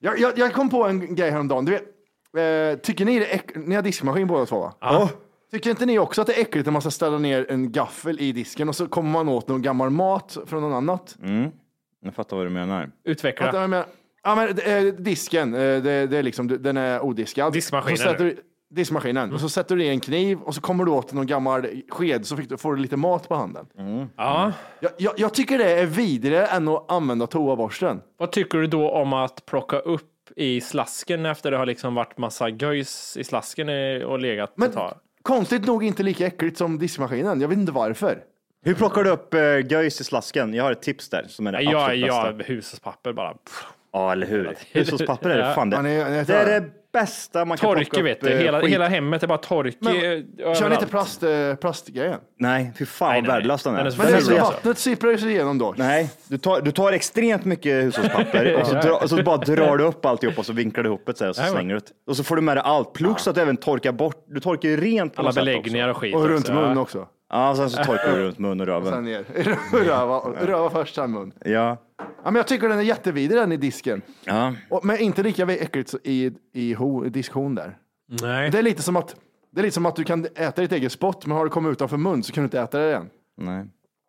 S1: jag, jag, jag kom på en grej häromdagen. Du vet, eh, tycker ni det är äck- Ni har diskmaskin båda två, va? Ja. Tycker inte ni också att det är äckligt när man ska ställa ner en gaffel i disken och så kommer man åt någon gammal mat från någon annat?
S3: Jag fattar vad du menar.
S2: Utveckla.
S1: Att, jag menar, ja, men, eh, disken, eh, det, det är liksom, den är odiskad.
S2: Diskmaskinen
S1: Så sätter du, diskmaskinen. Och så sätter du i en kniv och så kommer du åt någon gammal sked så fick du, får du lite mat på handen.
S2: Ja.
S1: Jag, jag, jag tycker det är vidare än att använda toaborsten.
S2: Vad tycker du då om att plocka upp i slasken efter det har liksom varit massa göjs i slasken i- och legat
S1: Men
S2: ett tag?
S1: konstigt nog inte lika äckligt som diskmaskinen. Jag vet inte varför.
S3: Hur plockar du upp uh, göjs i slasken? Jag har ett tips där som är det
S2: Ja,
S3: absolut
S2: ja,
S3: bästa.
S2: hushållspapper bara. Pff,
S3: Ja, eller
S2: (laughs)
S3: hur? Hushållspapper är det fan det.
S1: Ja, nej, nej, jag
S3: det
S1: tror
S3: är
S1: jag.
S3: det bästa man kan plocka
S2: Torke
S3: upp.
S2: vet du,
S3: eh,
S2: hela,
S3: skit.
S2: hela hemmet är bara torke.
S1: Men-
S2: eh,
S1: Kör ni
S2: överallt.
S1: inte plast, eh, plastgrejen?
S3: Nej, fy
S2: Nej,
S3: fan vad
S2: nej, nej.
S3: värdelös den är.
S2: Den är så
S1: Men det är så
S2: ful.
S3: jag-
S1: vattnet sipprar sig igenom då.
S3: Nej, du tar, du tar extremt mycket hushållspapper och så, dra, och så bara drar du upp alltihop och så vinklar du ihop det så här och så
S2: Jajamän.
S3: slänger du det. Och så får du med dig allt, plus att du även torkar bort, du torkar ju rent på
S2: Alla
S3: något sätt
S2: beläggningar och skit.
S1: Och runt
S2: också.
S1: mun
S2: Ja.
S1: också.
S3: Också. Ja, sen så torkar du runt mun och
S1: Sen
S3: röven.
S1: ner. (laughs) Röva, röva först, sen mun.
S3: Ja.
S1: Ja, men jag tycker den är jättevidrig den i disken.
S3: ja.
S1: Och, men inte lika äckligt så- i, i, ho, i diskhon där.
S2: Nej.
S1: Det är, lite som att, det är lite som att du kan äta ditt eget spott, men har det kommit utanför mun så kan du inte äta det igen.
S3: Nej.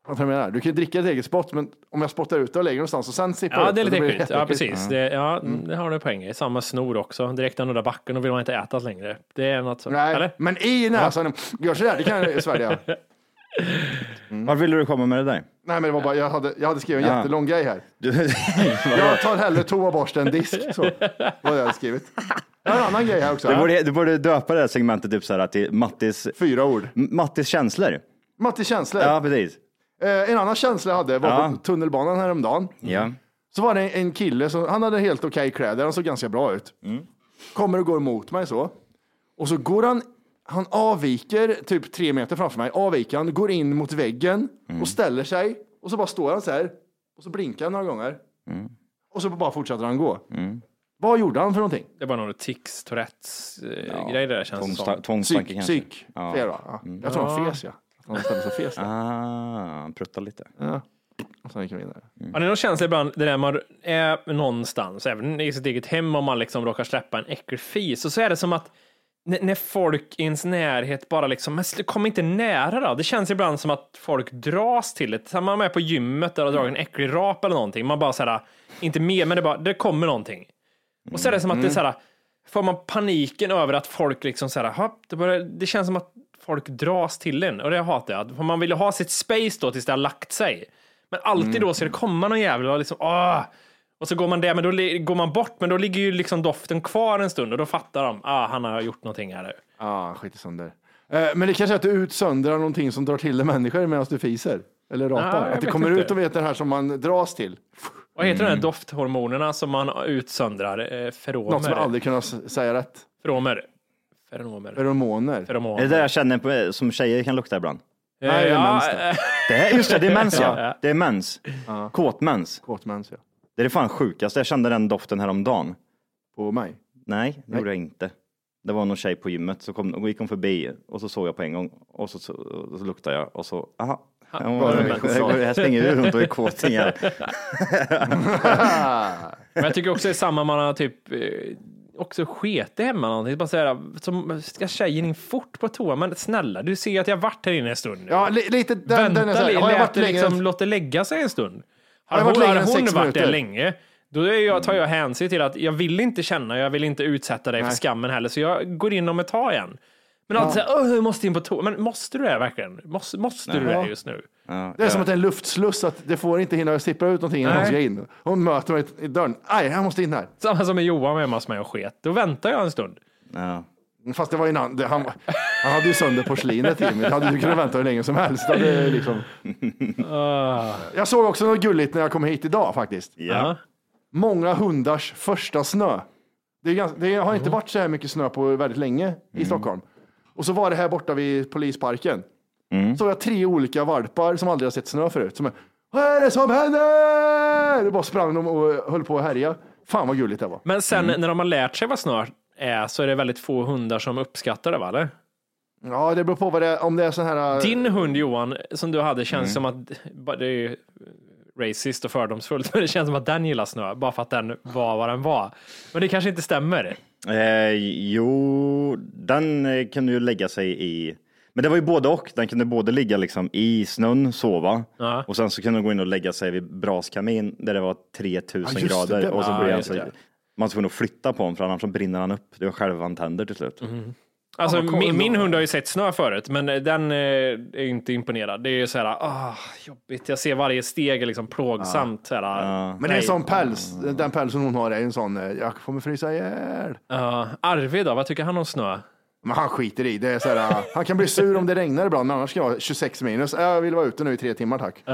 S1: Vad jag menar? Du kan ju dricka ditt eget spott, men om jag spottar ut det och lägger det någonstans och sen sippar
S2: Ja,
S1: ut
S2: det är
S1: så
S2: lite
S1: blir
S2: äckligt. Ja,
S1: jätteäckligt.
S2: precis. Det, ja, mm, det har du en poäng i. Samma snor också. Direkt när den där backen, då vill man inte äta längre. Det är något så.
S1: Nej,
S2: Eller?
S1: men i näsan. Gör sådär, det kan jag
S2: (laughs)
S1: svälja. Mm.
S3: Var ville du komma med det där?
S1: Nej, men det var bara, jag hade, jag hade skrivit en
S3: Ja.
S1: jättelång grej här.
S3: Du, (laughs)
S1: Jag tar hellre toaborste än disk. Så. Vad jag hade skrivit. Jag har en annan grej här också.
S3: du, borde, du borde döpa det här segmentet typ så här till Mattis,
S1: Fyra ord.
S3: Mattis känslor.
S1: Matti känslor.
S3: Ja, precis.
S1: Eh, en annan känsla jag hade var på
S3: Ja.
S1: tunnelbanan häromdagen.
S3: Ja.
S1: Så var det en, en kille, som, han hade helt okej kläder, han såg ganska bra ut.
S3: Mm.
S1: Kommer och går mot mig så. Och så går han, han avviker typ tre meter framför mig, avviker han, går in mot väggen
S3: Mm.
S1: och ställer sig. Och så bara står han så här och så blinkar han några gånger.
S3: Mm.
S1: Och så bara fortsätter han gå. Vad gjorde han för någonting?
S2: Det var någon tics, tourettes eh, grej det där känns det
S3: Tvångsta-
S2: som.
S3: Tvångstanke
S1: Psyk,
S3: kanske.
S1: psyk.
S3: Ja.
S1: säger jag då. Ja. Jag tror han fes ja. Att Han ställde sig och fes. där.
S3: Ah, prutta lite.
S1: Och sen gick han vidare.
S2: Ja, det är någon känsla ibland, det där man är någonstans, även i sitt eget hem, om man liksom råkar släppa en äcklig fis. Och så är det som att n- när folk i ens närhet bara liksom, men sl- kom inte nära då. Det känns ibland som att folk dras till det. Så Man är på gymmet där och dragit en äcklig rap eller någonting. Man bara så här, inte med, men det, bara, det kommer någonting. Och så är det som att
S1: Mm.
S2: det är så här, får man paniken över att folk liksom så här, "Hopp", det, börjar, det känns som att folk dras till en och det hatar jag. För man vill ju ha sitt space då tills det har lagt sig. Men alltid
S1: Mm.
S2: då ska det komma någon jävel och liksom, åh! Och så går man där, men då li- går man bort, men då ligger ju liksom doften kvar en stund och då fattar de, ah, han har gjort någonting här nu.
S1: Ja, ah, skit i sönder. Eh, men det kanske är att du utsöndrar någonting som drar till dig människor medan du fiser. Eller
S2: Ah,
S1: rapar.
S2: jag
S1: att det
S2: vet
S1: kommer
S2: inte.
S1: ut och vet det här som man dras till.
S2: Vad heter de här dofthormonerna som man utsöndrar? Eh, feromer.
S1: Mm. Något som jag aldrig kunnat s- säga rätt.
S2: Feromer. Feromer.
S1: Feromoner.
S3: Är
S2: Feromoner.
S3: det där jag känner på, eh, som tjejer kan lukta ibland?
S2: Eh,
S1: Nej, det är
S2: ja,
S1: mens det.
S2: eh,
S3: Det är, just det, det är mens
S2: Ja.
S3: ja. Det är mens. Kåtmens.
S1: Kåtmans, ja.
S3: Det är det fan sjukaste. Jag kände den doften häromdagen.
S1: På mig.
S3: Nej, det gjorde jag inte. Det var någon tjej på gymmet, så kom, och gick hon förbi och så såg jag på en gång och så, så, och så luktade jag och så, aha. Hon var- Här springer du runt och är kåt din jävel.
S2: Men jag tycker också det är samma man har typ eh, också skete hemma någonting. Bara såhär, som, ska tjejen in fort på toa? Men snälla, du ser ju att jag har varit här inne en stund nu.
S1: Ja, li, lite den, den är
S2: Vänta
S1: så här.
S2: lite,
S1: Har jag
S2: lät
S1: varit
S2: det
S1: längre?
S2: liksom,
S1: än-
S2: låt det lägga sig en stund. Har,
S1: jag
S2: hon
S1: varit längre än
S2: har hon
S1: sex
S2: varit där
S1: minuter?
S2: länge, då är jag, tar jag hänsyn till att jag vill inte känna, jag vill inte utsätta dig för skammen heller, så jag går in om ett tag igen. Men alltid såhär, "Åh, jag måste in på toa. Men måste du det verkligen? Måste, måste du det just nu?
S1: Det är som att det är en luftsluss, att det får inte hinna sippra ut någonting innan
S2: Nej.
S1: hon ska in. Hon möter mig i dörren. Aj, jag måste in här.
S2: Samma som med Johan var hemma hos mig och sket. Då väntar jag en stund.
S3: Ja.
S1: Fast det var ju han, det- han, han hade ju sönder porslinet Jimmy. Det hade du kunnat vänta hur länge som helst. Det hade liksom...
S2: Ah.
S1: Jag såg också något gulligt när jag kom hit idag faktiskt.
S3: Ja.
S1: Många hundars första snö. Det, är ganska, det har inte varit så här mycket snö på väldigt länge i Stockholm. Och så var det här borta vid polisparken. Så var jag tre olika valpar som aldrig har sett snö förut. Som är, vad är det som händer? Det bara sprang de och höll på att härja. Fan vad gulligt det var.
S2: Men sen
S3: Mm.
S2: när de har lärt sig vad snart är så är det väldigt få hundar som uppskattar det, va? Eller?
S3: Eh.
S1: Ja, det beror på vad det är, om det är sån här. eh,
S2: Din hund Johan, som du hade,
S3: Mm.
S2: känns som att, bara- det är ju racist och fördomsfullt, (laughs) men det känns som att den gillar snö, bara för att den var vad den var. Men det kanske inte stämmer.
S3: Eh, jo, den eh, kunde ju lägga sig i... Men det var ju både och. Den kunde både ligga liksom i snön, sova
S2: Ja.
S3: och sen så kunde den gå in och lägga sig vid braskamin där det var 3000
S1: Ja, just det,
S3: grader.
S1: det
S3: och så
S1: var-
S3: blev
S2: Ja,
S3: han
S2: just
S3: så...
S2: det.
S3: Man var tvungen att flytta på honom för annars så brinner han upp. Det var självantänder till slut.
S2: Alltså,
S1: vad cool
S2: min, min
S1: då.
S2: hund har ju sett snö förut, men eh, den eh, är ju inte imponerad. Det är ju så här, ah, jobbigt. Jag ser varje steg är liksom plågsamt. Så här,
S1: Men det är
S2: nej.
S1: som päls. Den pälsen hon har är en sån, eh, jag kommer frysa ihjäl.
S2: Ja. Arvid då, vad tycker han om snö?
S1: Men han skiter i det. Är så här, eh, han kan bli sur om det regnar ibland, men annars kan jag vara 26 minus. Eh, Jag vill vara ute nu i tre timmar tack. Så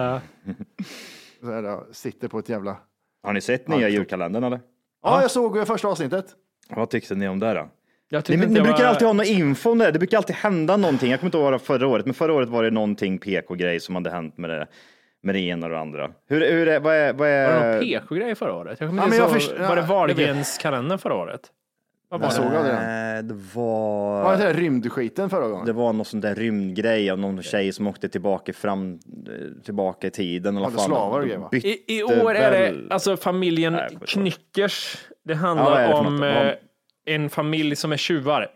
S1: här, eh, sitter på ett jävla...
S3: Har ni sett nya julkalendern eller?
S1: Ja, jag såg eh, första avsnittet.
S3: Vad tyckte ni om det då?
S2: Jag tyckte
S3: Ni,
S2: inte
S3: ni
S2: jag
S3: brukar
S2: var-
S3: alltid ha någon info om det. här. Det brukar alltid hända någonting. Jag kommer inte ihåg vad det var förra året, men förra året var det någonting PK-grej som hade hänt med det, med det ena och det andra. Hur, hur är, vad är, vad
S2: Var
S3: är...
S2: det någon PK-grej förra året? Eh, Jag kommer
S1: Ja,
S2: inte
S1: men jag
S2: ihåg.
S1: först- ja,
S2: Var det
S1: jag vet.
S2: Wahlgrens kalender förra året? Vad var
S1: Jag
S2: det?
S1: såg aldrig den.
S3: Eh, det
S1: Var det
S3: var...
S1: den där rymdskiten förra gången?
S3: Det var någon sån där rymdgrej av någon tjej som åkte tillbaka fram, eh, tillbaka i tiden. Eller vad
S1: Hade
S3: fan.
S1: slavar och grejer, va?
S3: Bytte
S2: I, I år är
S3: väl-
S2: det alltså familjen
S3: Nej, jag förstår.
S2: Knyckers. Det
S3: Ja, vad
S2: handlar
S3: är det för
S2: om
S3: något?
S2: eh, en familj som är tjuvar.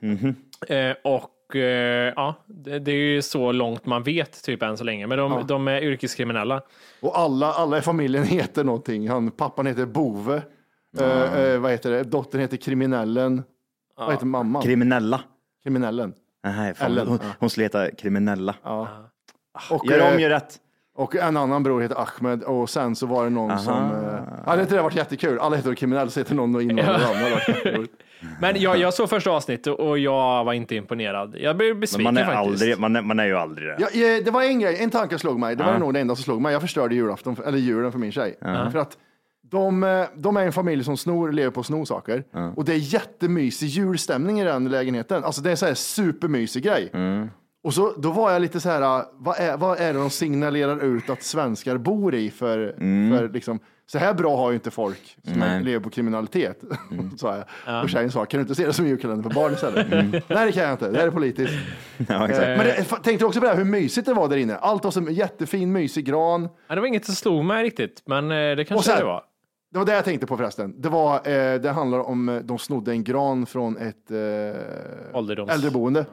S3: Mhm.
S2: Eh, och eh, ja, det, det är ju så långt man vet typ än så länge. Men de, de är yrkeskriminella.
S1: Och alla, alla i familjen (laughs) heter någonting. Han, pappan heter Bove. Eh, eh, vad heter det? Dottern heter Kriminellen. Vad heter mamman?
S3: Kriminella.
S1: kriminellen.
S3: Nej, fan,
S1: Ellen,
S3: hon,
S1: ja.
S3: hon skulle heta kriminella.
S1: Och,
S3: Gör
S1: eh,
S3: om, gör rätt.
S1: Och en annan bror heter Ahmed och sen så var det någon som... Eh, hade inte det varit jättekul? Alla heter kriminell så heter någon och invandrare och andra. Det hade varit roligt.
S2: Men jag, jag såg första avsnittet och jag var inte imponerad. Jag blev
S3: Men
S2: besviken
S3: man är,
S2: faktiskt.
S3: aldrig, man, är, man är ju aldrig det.
S1: ja, eh, det var en grej, en tanke slog mig. Det var nog det enda som slog mig. Jag förstörde julafton, eller julen för min tjej. För att de, eh, de är en familj som snor, lever på att sno saker. Och det är jättemysig julstämning i den lägenheten. Alltså det är så här supermysig grej. Och så, då var jag lite så här, eh, vad är, vad är det de signalerar ut att svenskar bor i för, för liksom, så här bra har ju inte folk som lever på kriminalitet. (laughs) sa jag. Och tjejen sa, kan du inte se det som julkalender för barn istället? Nej det kan jag inte, det här är politiskt.
S3: (laughs) Ja,
S1: Eh,
S3: exakt.
S1: Men det, fa- tänkte du också på det här, hur mysigt det var där inne? Allt var som en jättefin, mysig gran.
S2: Ja, det var inget som slog mig riktigt, men eh, det
S1: Och
S2: kanske
S1: sen-
S2: det var.
S1: Det var det jag tänkte på förresten. Det, var, eh, det handlar om, eh, de snodde en gran från ett eh,
S2: Ålderdoms...
S1: äldreboende.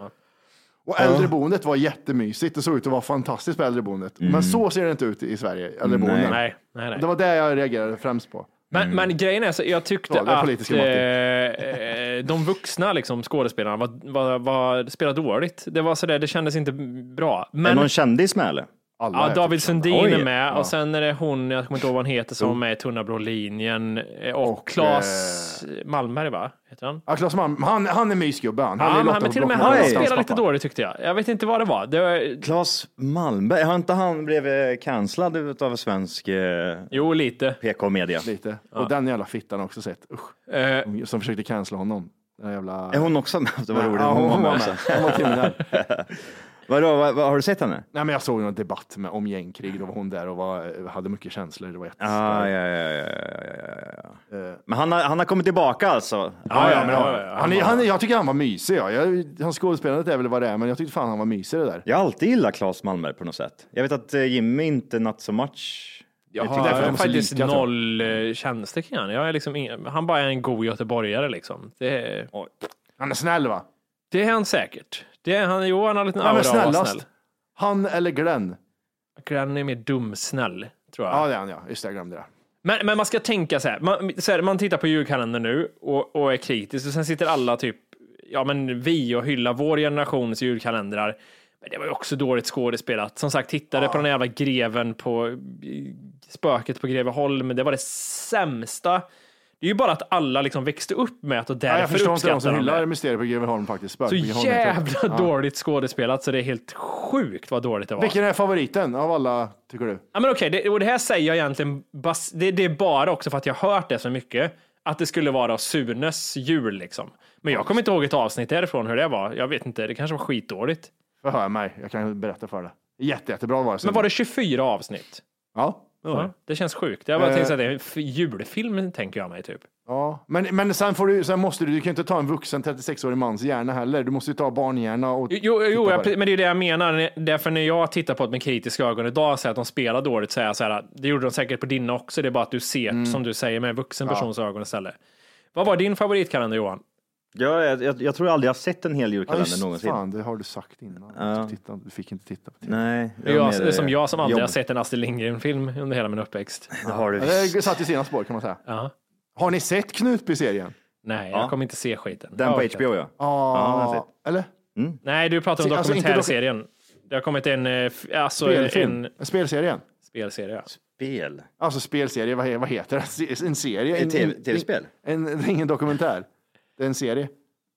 S1: Och äldreboendet var jättemysigt. Det såg ut att vara fantastiskt på äldreboendet. Men så ser det inte ut i Sverige, äldreboenden.
S2: Mm. Nej, nej, nej.
S1: Det var det jag reagerade främst på.
S2: Men, men grejen är så, jag tyckte
S1: Mm. Ja, det är
S2: att
S1: politiska
S2: eh,
S1: Martin.
S2: eh, de vuxna liksom, skådespelarna var, var, var, spelade dåligt. Det var sådär, det kändes inte bra.
S3: Är
S2: Men
S3: någon kändis med eller?
S1: Alla
S2: ja,
S1: är
S2: David
S1: typ-
S2: Sundin
S3: Oj,
S2: är med och sen är det hon, jag kommer inte ihåg vad hon heter, som är med i Tunna blå linjen eh, och,
S1: Och, eh,
S2: Claes Malmberg, va? Heter han?
S1: Ja, Claes Malm, Alltså, han, han är mysgubbe han.
S2: Ja,
S1: är
S2: men
S1: Lotta
S2: han, men
S1: på
S2: till och med
S1: Blocket.
S2: han
S3: Oj.
S2: spelade lite
S3: Pappa.
S2: dåligt tyckte jag. Jag vet inte vad det var. Det var
S3: Claes Malmberg, har inte han blivit cancellad av svensk eh,
S2: jo, lite.
S3: PK-media?
S1: Lite. Och den jävla fittan har jag också sett. Usch.
S2: Eh,
S1: Som försökte cancella honom. Den här jävla...
S3: Är hon också med? (laughs) Det var roligt.
S1: Ja, hon, var
S3: också.
S2: (laughs)
S1: med. Hon var kriminell.
S3: Vadå, vad, vad, har du sett henne?
S1: Nej, men jag såg en debatt med, om gängkrig. Då var hon där och var, hade mycket känslor. Det var jättestarkt.
S3: Ah, ja, ja, ja, ja, ja, ja, ja. Men han har, han har kommit tillbaka alltså?
S1: Eh. Ja, ja, men
S2: ja, ja, ja.
S1: han, är- han, är- jag tycker han var mysig. Ja. Jag, hans skådespelandet är väl vad det är, men jag tyckte fan han var mysig det där.
S3: Jag har alltid gillat Claes Malmberg på något sätt. Jag vet att eh, Jimmy inte not so much.
S2: Jag
S1: tycker därför
S2: har
S1: de är så
S2: faktiskt
S1: lika, tror jag.
S2: noll eh, känslor kring han. Jag är liksom ingen, han bara är en god göteborgare liksom. Det är,
S1: Han är snäll va?
S2: Det är han säkert. Det är han, jo, han har en liten
S1: Han
S2: aura
S1: är
S2: av att vara
S1: snällast.
S2: snäll.
S1: Han eller Glenn?
S2: Glenn är mer dumsnäll, tror jag.
S1: Ja, det är han ja. Just det, jag glömde det.
S2: Men, men man ska tänka så här. Man, så här, man tittar på julkalendern nu och, och är kritisk och sen sitter alla typ, ja men vi och hyllar vår generations julkalendrar. Men det var ju också dåligt skådespelat. Som sagt, tittade på den jävla greven på spöket på Greveholm. Det var det sämsta. Det är ju bara att alla liksom växte upp med det och
S1: Ja,
S2: därför
S1: jag förstår inte
S2: uppskattar
S1: de som
S2: de
S1: hyllar
S2: det.
S1: mysteriet på Greveholm faktiskt.
S2: Så
S1: Spöket på Greveholm heter det.
S2: jävla dåligt skådespelat så det är helt sjukt vad dåligt det var.
S1: Vilken är favoriten av alla, tycker du?
S2: Ja, men okej, det, och det här säger jag egentligen, bas, det, det är bara också för att jag hört det så mycket, att det skulle vara Sunes jul liksom. Men jag kommer inte ihåg ett avsnitt därifrån hur det var. Jag vet inte, det kanske var skitdåligt.
S1: Vad hör jag mig? Jag kan berätta för dig. Jätte, jättebra var det.
S2: Men var det 24 avsnitt?
S1: Ja. det var det.
S2: Ja, det känns sjukt. Jag bara
S1: Eh.
S2: tänkte att det är en f- julfilm, tänker jag mig typ.
S1: Ja, men, men sen, får du, sen måste du, du kan ju inte ta en vuxen 36-årig mans hjärna heller. Du måste ju ta barnhjärna och...
S2: Jo, jo,
S1: titta på
S2: jo jag,
S1: det.
S2: men det är ju det jag menar. Därför när jag tittar på det med kritiska ögon idag och säger att de spelar dåligt, så är jag så här, det gjorde de säkert på dina också. Det är bara att du ser, som du säger, med en vuxen persons ögon istället. Vad var din favoritkalender Johan?
S3: Ja, jag, jag, jag tror aldrig jag har sett en hel
S1: Ja,
S3: julkalender
S1: just,
S3: någonsin.
S1: Fan, det har du sagt innan.
S3: Ja.
S1: Du, titta, du fick inte titta på det.
S3: Nej,
S2: Det är
S3: var
S2: jag,
S3: mer, eh,
S2: det är som jag som aldrig
S3: jobb.
S2: har sett en Astrid Lindgren-film under hela min uppväxt.
S3: Det har du
S1: Ja,
S3: visst.
S1: Det satt i sina spår kan man säga.
S2: Ja.
S1: Har ni sett Knutby-serien?
S2: Nej,
S3: Ja.
S2: jag kommer inte se skiten.
S3: Den
S2: Jag
S3: på
S2: orkar inte.
S3: HBO ja.
S1: Ah.
S3: den har jag
S1: Ja. Eller?
S2: Nej, du pratar om
S1: Se- alltså, inte doku-
S2: dokumentärserien. det har kommit en, eh, f- alltså
S1: Spelfilm?
S2: en
S1: En... Spelserien?
S2: spelserie. ja.
S3: Spel.
S1: Alltså spelserie, vad, he- vad heter det? (laughs) Se- En serie?
S3: Ett
S1: En-
S3: TV
S1: en-
S3: tv-spel?
S1: En, det är ingen dokumentär. Det är en serie.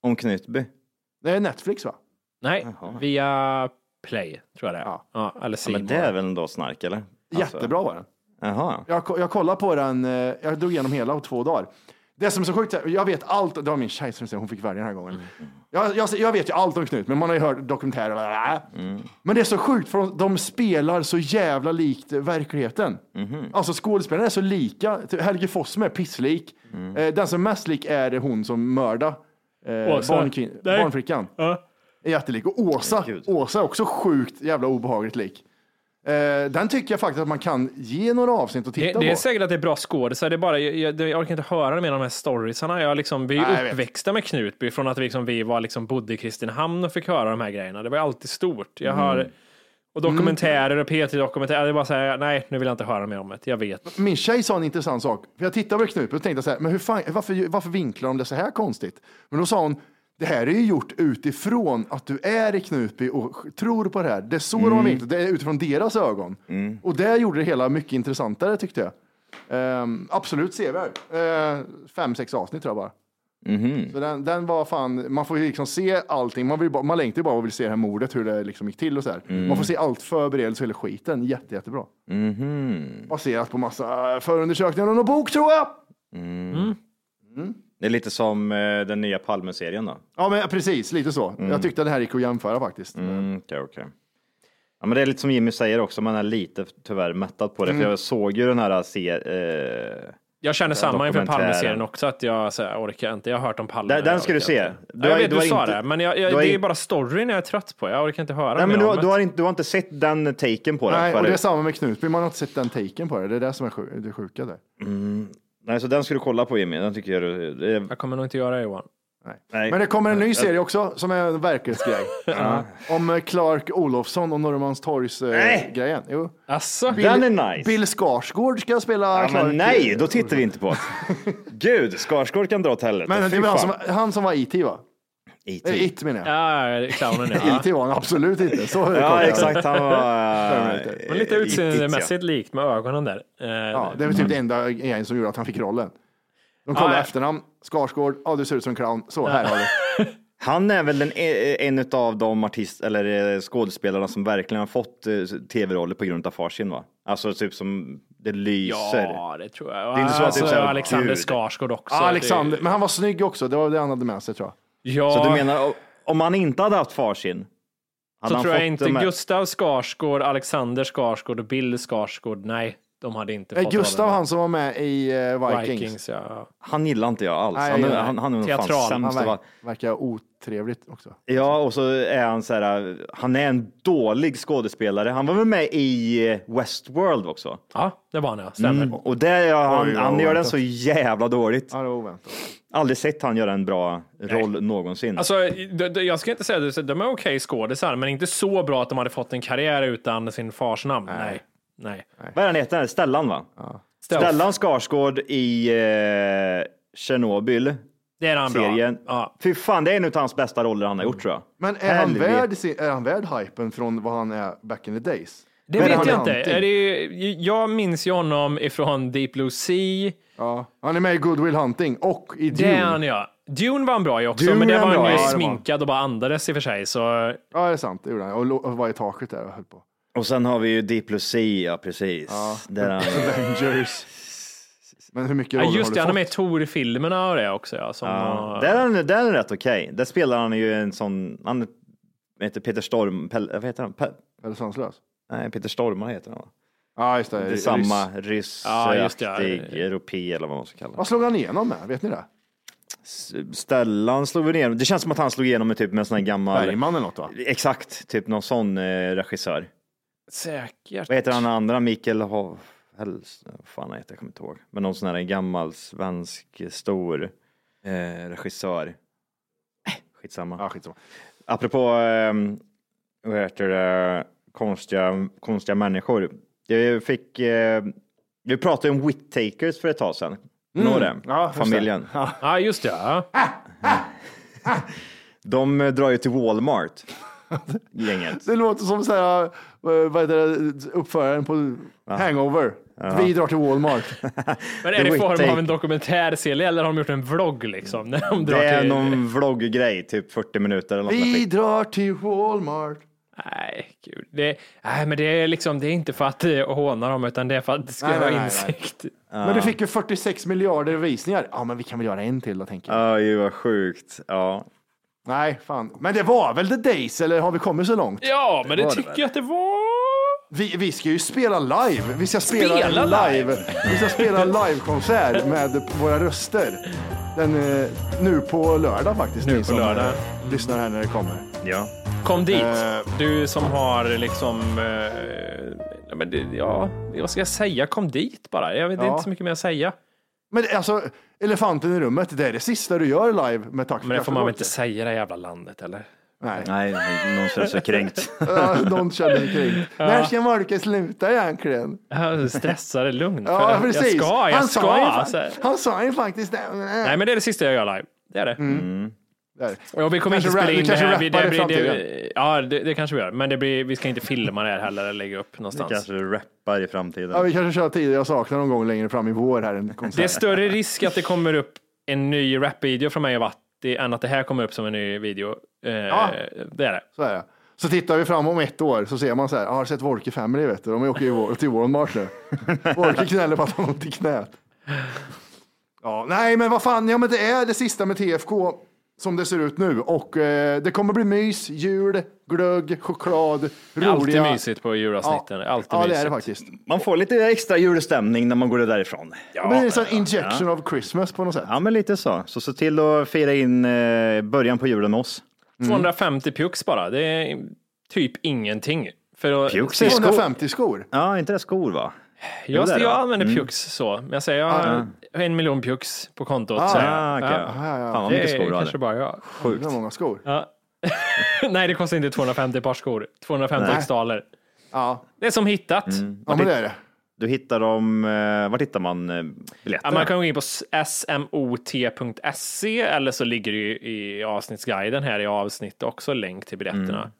S3: Om Knutby.
S1: Det är Netflix va?
S2: Nej, via Play tror jag det är. Ja.
S1: Ja.
S2: eller
S3: Ja,
S2: C
S3: men det är väl ändå snark eller? Alltså,
S1: Jättebra var den.
S3: Jaha.
S1: Jag, ko- jag kollade på den, eh, jag drog igenom hela på två dagar. Det som är så sjukt, är- jag vet allt, det var min tjej som sa hon fick välja den här gången.
S2: Mm.
S1: Jag, jag, jag vet ju allt om Knut, men man har ju hört dokumentärer. bla, bla.
S2: Mm.
S1: Men det är så sjukt, för de, de spelar så jävla likt verkligheten.
S2: Mhm.
S1: Alltså skådespelarna är så lika. Typ Helge Fossum är pisslik.
S2: Mm.
S1: Eh, Den som är mest lik är hon som mördar eh,
S2: Åsa.
S1: barnkin-
S2: Nej.
S1: barnflickan.
S2: Ja.
S1: Är jättelik. Och Åsa,
S3: Gud.
S1: Åsa är också sjukt jävla obehagligt lik. Eh, Den tycker jag faktiskt att man kan ge några avsnitt och
S2: Det,
S1: titta
S2: det är
S1: på.
S2: säkert att det är bra skådisar, det är bara, jag, jag, jag orkar inte höra mer om de här storiesarna. Jag liksom, vi
S1: Nej, jag
S2: är
S1: vet.
S2: uppväxta med Knutby från att vi, liksom, vi var, liksom, bodde i Kristinehamn och fick höra de här grejerna. Det var ju alltid stort. Jag
S3: Mm.
S2: hör, och dokumentärer och P3 dokumentärer, det var så här, nej, nu vill jag inte höra mer om det. Jag vet.
S1: Min tjej sa en intressant sak. För jag tittade på Knutby och tänkte så här, men hur fan, varför, varför vinklar de det så här konstigt? Men då sa hon, det här är ju gjort utifrån att du är i Knutby och tror på det här. Det är så de har vinklat, det är utifrån deras ögon. Och det gjorde det hela mycket intressantare tyckte jag. Ehm, absolut sevärd. Ehm, fem, sex avsnitt tror jag bara. Så den, den var fan, man får ju liksom se allting. Man, vill bara, man längtar ju bara och vill se det här mordet, hur det liksom gick till och så här. Man får se allt förberedelse och hela skiten. Jätte, jättebra. Baserat på massa eh, förundersökningar och någon bok tror jag.
S3: Det är lite som eh, den nya Palme-serien då.
S1: Ja, men precis lite så. Jag tyckte det här gick att jämföra faktiskt.
S3: Mm, okej, okej. Ja, men det är lite som Jimmy säger också, man är lite tyvärr mättad på det.
S1: Mm.
S3: För jag såg ju den här serien. Eh,
S2: Jag känner samma inför
S3: dokumentären.
S2: Palmeserien också, att jag så här, orkar inte. Jag har hört om Palme.
S3: Den- den
S2: jag
S3: ska du
S2: orkar
S3: se.
S2: inte.
S3: Du
S2: Ja, jag
S3: har-
S2: vet,
S3: du
S2: du
S3: har
S2: sa
S3: inte-
S2: det, men jag,
S3: du
S2: jag,
S3: har
S2: det är
S3: inte-
S2: bara storyn jag är trött på. Jag orkar inte höra
S3: nej,
S2: mer
S3: men du,
S2: om
S3: har-
S2: det.
S3: du, har inte, du har inte sett den taken på det
S1: Nej, och det är
S3: förut.
S1: samma med Knutby. Man har inte sett den taken på det. Det är det som är sjuk, det sjuka där.
S3: Nej, så den ska du kolla på Jimmy. Den tycker jag du... Det är,
S2: Jag kommer nog inte göra det Johan.
S1: Nej.
S3: Nej.
S1: Men det kommer en ny serie också som är
S3: (laughs)
S1: en verklighetsgrej. Om eh, Clark Olofsson och
S3: Nej.
S1: Norrmalmstorgs-grejen. jo.
S2: Asså?
S3: den är nice.
S1: Bill Skarsgård ska spela
S3: ja,
S1: Clark.
S3: men nej, då tittar vi inte
S1: (laughs)
S3: på det. Gud, Skarsgård kan dra åt helvete.
S1: Men det
S3: Fy
S1: var han
S3: fan.
S1: som, han som var IT va?
S3: IT.
S1: Eh, It menar jag.
S2: Ja, clownen
S3: (laughs)
S2: ja.
S1: IT var han absolut inte. Så
S3: Ja, exakt. Han
S1: (laughs)
S3: var...
S1: Terminator.
S2: Men
S3: Eh,
S2: lite utseendemässigt likt med ögonen där. Eh,
S1: Ja, det var typ det enda grejen som gjorde att han fick rollen. De kollar
S2: Ah, ja.
S1: efternamn, Skarsgård, ja du ser ut som en clown, så här
S2: (laughs)
S1: har du.
S3: Han är väl en, en av de artist eller eh, skådespelarna som verkligen har fått eh, tv-roller på grund av farsin va? Alltså typ som det lyser.
S2: ja, det tror jag. Alltså,
S3: Det är inte så att det är så här,
S2: Alexander
S3: gud.
S2: Skarsgård också.
S1: Ja, Alexander, men han var snygg också, det var det han hade med sig tror jag. Eh,
S2: Det, ja,
S3: Så du menar o- om han inte hade haft farsin? Hade
S2: så
S3: han
S2: tror jag
S3: fått
S2: inte
S3: de här-
S2: Gustav Skarsgård, Alexander Skarsgård och Bill Skarsgård, nej, de hade inte
S1: Eh,
S2: fått
S1: Gustav
S2: rollen.
S1: han som var med i eh, Vikings.
S2: Vikings. Ja.
S3: Han gillar inte jag alls.
S1: Nej,
S3: han,
S1: jag
S3: är,
S1: gillar
S3: han, han är nog
S2: Teatral.
S3: fan sämst
S1: Han
S3: av
S1: ver-
S3: alla.
S1: verkar otrevligt också.
S3: Ja, och så är han så här, eh, han är en dålig skådespelare. Han var väl med i eh, Westworld också? Mm.
S2: ja, det var han ja, stämmer.
S3: Och där gör han,
S1: Oj, vad
S3: han gör den
S1: oväntat.
S3: så jävla dåligt.
S1: Ja, det var oväntat.
S3: Aldrig sett han göra en bra roll någonsin.
S2: Alltså, d- d- jag ska inte säga att de är okej skådisar, men inte så bra att de hade fått en karriär utan sin fars namn. Nej. Nej.
S3: Vad är han heter? Stellan va? Stellan Skarsgård i eh, Tjernobyl.
S2: Det är han
S3: Serien.
S2: bra. Ja.
S3: Fy fan, det är en av hans bästa roller han har gjort tror jag.
S1: Men är han,
S3: Helvete.
S1: värd, sin- är han värd hypen från vad han är back in the days?
S2: Det
S1: Men
S2: vet
S1: han
S2: jag
S1: är
S2: inte.
S1: någonting.
S2: Är det, jag minns ju honom ifrån Deep Blue Sea.
S1: Ja. Han är med i Good Will Hunting och i
S2: Det är
S1: Dune.
S2: han ja. Dune var han bra i också,
S1: Dune
S2: men
S1: är
S2: det
S1: han
S2: var
S1: bra
S2: han
S1: i,
S2: ju
S1: ja, det var han.
S2: sminkad och bara andades i och för sig. Så
S1: Ja, det är sant. Det gjorde han. Och lo- och var i taket där och höll på.
S3: Och sen har vi ju Deep Lucia, ja, precis. Där han
S1: (laughs) Avengers. Men hur mycket
S2: Ja,
S1: roller
S2: just det,
S1: har
S2: han
S1: du
S2: är med i
S1: fått?
S2: Tor-filmerna och det också. Ja, som,
S3: Ja,
S2: och,
S3: där, är han, där är han rätt okej. Där spelar han ju en sån, han heter Peter Storm, Pelle, vad heter han? Pe,
S1: Eller sanslös?
S3: nej, Peter Stormare heter han va?
S1: Ja, just det.
S3: Det är
S1: Ryss.
S3: samma ryss,
S2: Ja, just det, ja.
S3: aktig, europé eller vad man ska kalla det.
S1: Vad slog han igenom med? Vet ni det?
S3: Stellan slog väl igenom, det känns som att han slog igenom med typ med en sån här gammal,
S1: Bergman eller något va?
S3: exakt, typ någon sån eh, regissör.
S2: Säkert.
S3: Vad heter han andra? Mikael Hov... Hels... Vad fan han heter, jag kommer inte ihåg. Men någon sån här gammal svensk stor eh, regissör. Äh, Skitsamma.
S1: Ja, skitsamma.
S3: Apropå eh, vad heter det, konstiga, konstiga människor. Jag fick, eh, vi pratade om Whittakers för ett tag sedan. Några,
S1: Ja, just det.
S3: familjen.
S2: Ja, just det. Ja.
S3: De eh, drar ju till Walmart, gänget.
S1: Det låter som så här, eh, vad heter det, uppföraren på Hangover. Vi drar till
S2: (laughs)
S1: Walmart.
S2: Men är
S3: Det
S2: det
S3: var
S2: i form
S3: inte-
S2: av en dokumentärserie eller har de gjort en vlogg liksom? När de drar
S3: Det är
S2: till...
S3: någon vlogggrej, typ 40 minuter eller något. sånt där
S1: Vi
S3: skit.
S1: drar till Walmart.
S2: Nej, gud. Det... Nej, men det är liksom, det är inte för att eh, håna dem, utan det är för att det ska
S1: Nej,
S2: vara
S1: nej, nej, nej.
S2: insikt.
S1: Men du fick ju 46 miljarder visningar. Ja, men vi kan väl göra en till då, tänker jag.
S3: Ja, ju vad sjukt. Ja.
S1: Nej, fan. Men det var väl The Days, eller har vi kommit så långt?
S2: Ja, men det,
S3: var det
S2: tycker
S3: väl.
S2: jag att det var.
S1: Vi, vi ska ju spela live. Vi ska spela,
S2: Spela
S1: en
S2: live?
S1: Vi ska spela en livekonsert med våra röster. Den, eh, nu på lördag faktiskt. Nu
S2: på lördag.
S1: Lyssnar här när det kommer.
S3: ja.
S2: Kom dit.
S1: Eh.
S2: Du som har liksom... eh, Ja, men det, ja, vad ska jag säga? Kom dit bara. Jag vet, Det är
S1: Ja.
S2: inte så mycket mer att säga.
S1: Men alltså, elefanten i rummet, det är det sista du gör live med Tack för
S2: Men det får man väl inte
S1: kaffet.
S2: säga i det jävla landet, eller?
S1: Nej.
S3: Nej, någon känner sig kränkt.
S1: (laughs) Ja, Någon känner sig kränkt. När ska Marcus sluta egentligen?
S2: Ja, Stressade, lugn.
S1: Ja,
S2: för
S1: precis.
S2: Jag ska, jag
S1: han,
S2: ska.
S1: Sa ju,
S2: alltså.
S1: fa- han sa ju faktiskt det.
S2: Nej, men det är det sista jag gör live. Det är det.
S1: Där.
S2: Och vi kommer
S1: Mm. Kanske
S2: inte spela
S1: rap- vi
S2: in det
S1: kanske
S2: här. Vi,
S1: rappar
S2: det,
S1: i
S2: blir, det, ja, det, det kanske vi gör. Men det blir, vi ska inte filma det här heller eller lägga upp någonstans. Det,
S3: Kanske rappar i framtiden.
S1: Ja, vi kanske kör tidigare jag saknar någon gång längre fram i vår här. En konsert.
S2: är större risk att det kommer upp en ny rapvideo från mig och Vatti än att det här kommer upp som en ny video. Eh, Det är det.
S1: Så, är det. så tittar vi fram om ett år så ser man så här, "Ah, har du sett Wolke Family vet du, de åker ju Wal- till Walmart
S2: (laughs)
S1: nu. Wolke knäller på att han har ont i knät. Ja, nej men vad fan, ja men det är det sista med TFK som det ser ut nu och eh, det kommer bli mys, jul, glögg, choklad,
S2: Det är Alltid
S1: roliga.
S2: mysigt på julavsnitten. Alltid
S1: ja, det
S2: mysigt.
S1: är det faktiskt.
S3: Man får lite extra julstämning när man går därifrån.
S1: Ja, men det är en sån injection of Christmas på något sätt.
S3: Ja, men lite så. Så se till att fira in eh, början på julen med oss.
S1: Mm.
S2: 250 pjux bara. Det är typ ingenting. För att,
S3: Pjux är skor.
S1: 250 skor.
S3: Ja, inte det skor va?
S2: Jag,
S3: det är det. Mm.
S2: jag använder pjux så. Men jag säger jag
S1: Ah,
S2: har en miljon pjux på kontot. så jag-
S3: Ah, okay. Fan vad
S2: Det
S3: mycket
S2: är
S3: skor du
S2: kanske
S3: hade.
S2: bara jag.
S1: Sjukt. många skor.
S2: (laughs) Nej, det kostar inte 250 par skor. 250
S1: Nej.
S2: riksdaler.
S1: Ja,
S2: Det är som hittat.
S3: Mm.
S1: ja men det är det.
S3: Du hittar dem, eh, vart hittar man eh, biljetterna?
S2: Ja, man kan gå in på smot.se E eller så ligger det ju i avsnittsguiden här i avsnittet också länk till biljetterna.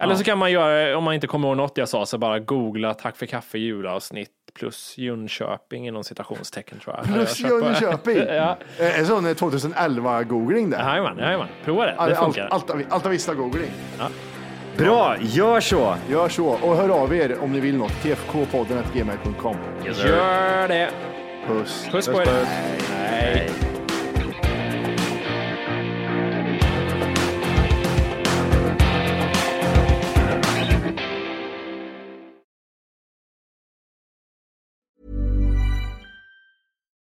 S2: Eller så kan man göra, om man inte kommer ihåg något jag sa, så bara googla Tack för kaffe julavsnitt plus Jönköping inom citationstecken tror jag.
S1: Plus
S2: Jag har kört på-
S1: Jönköping.
S2: (laughs) ja.
S1: Eh, En sån 2011-googling där.
S2: Jajamän, jajamän. Prova det. Det
S1: Allt,
S2: funkar.
S1: allt, googling.
S3: Bra, gör så!
S1: Gör så och hör av er om ni vill något. tfkpodden.gmail.com.
S2: Gör det.
S1: Puss.
S2: Puss på er. Nej.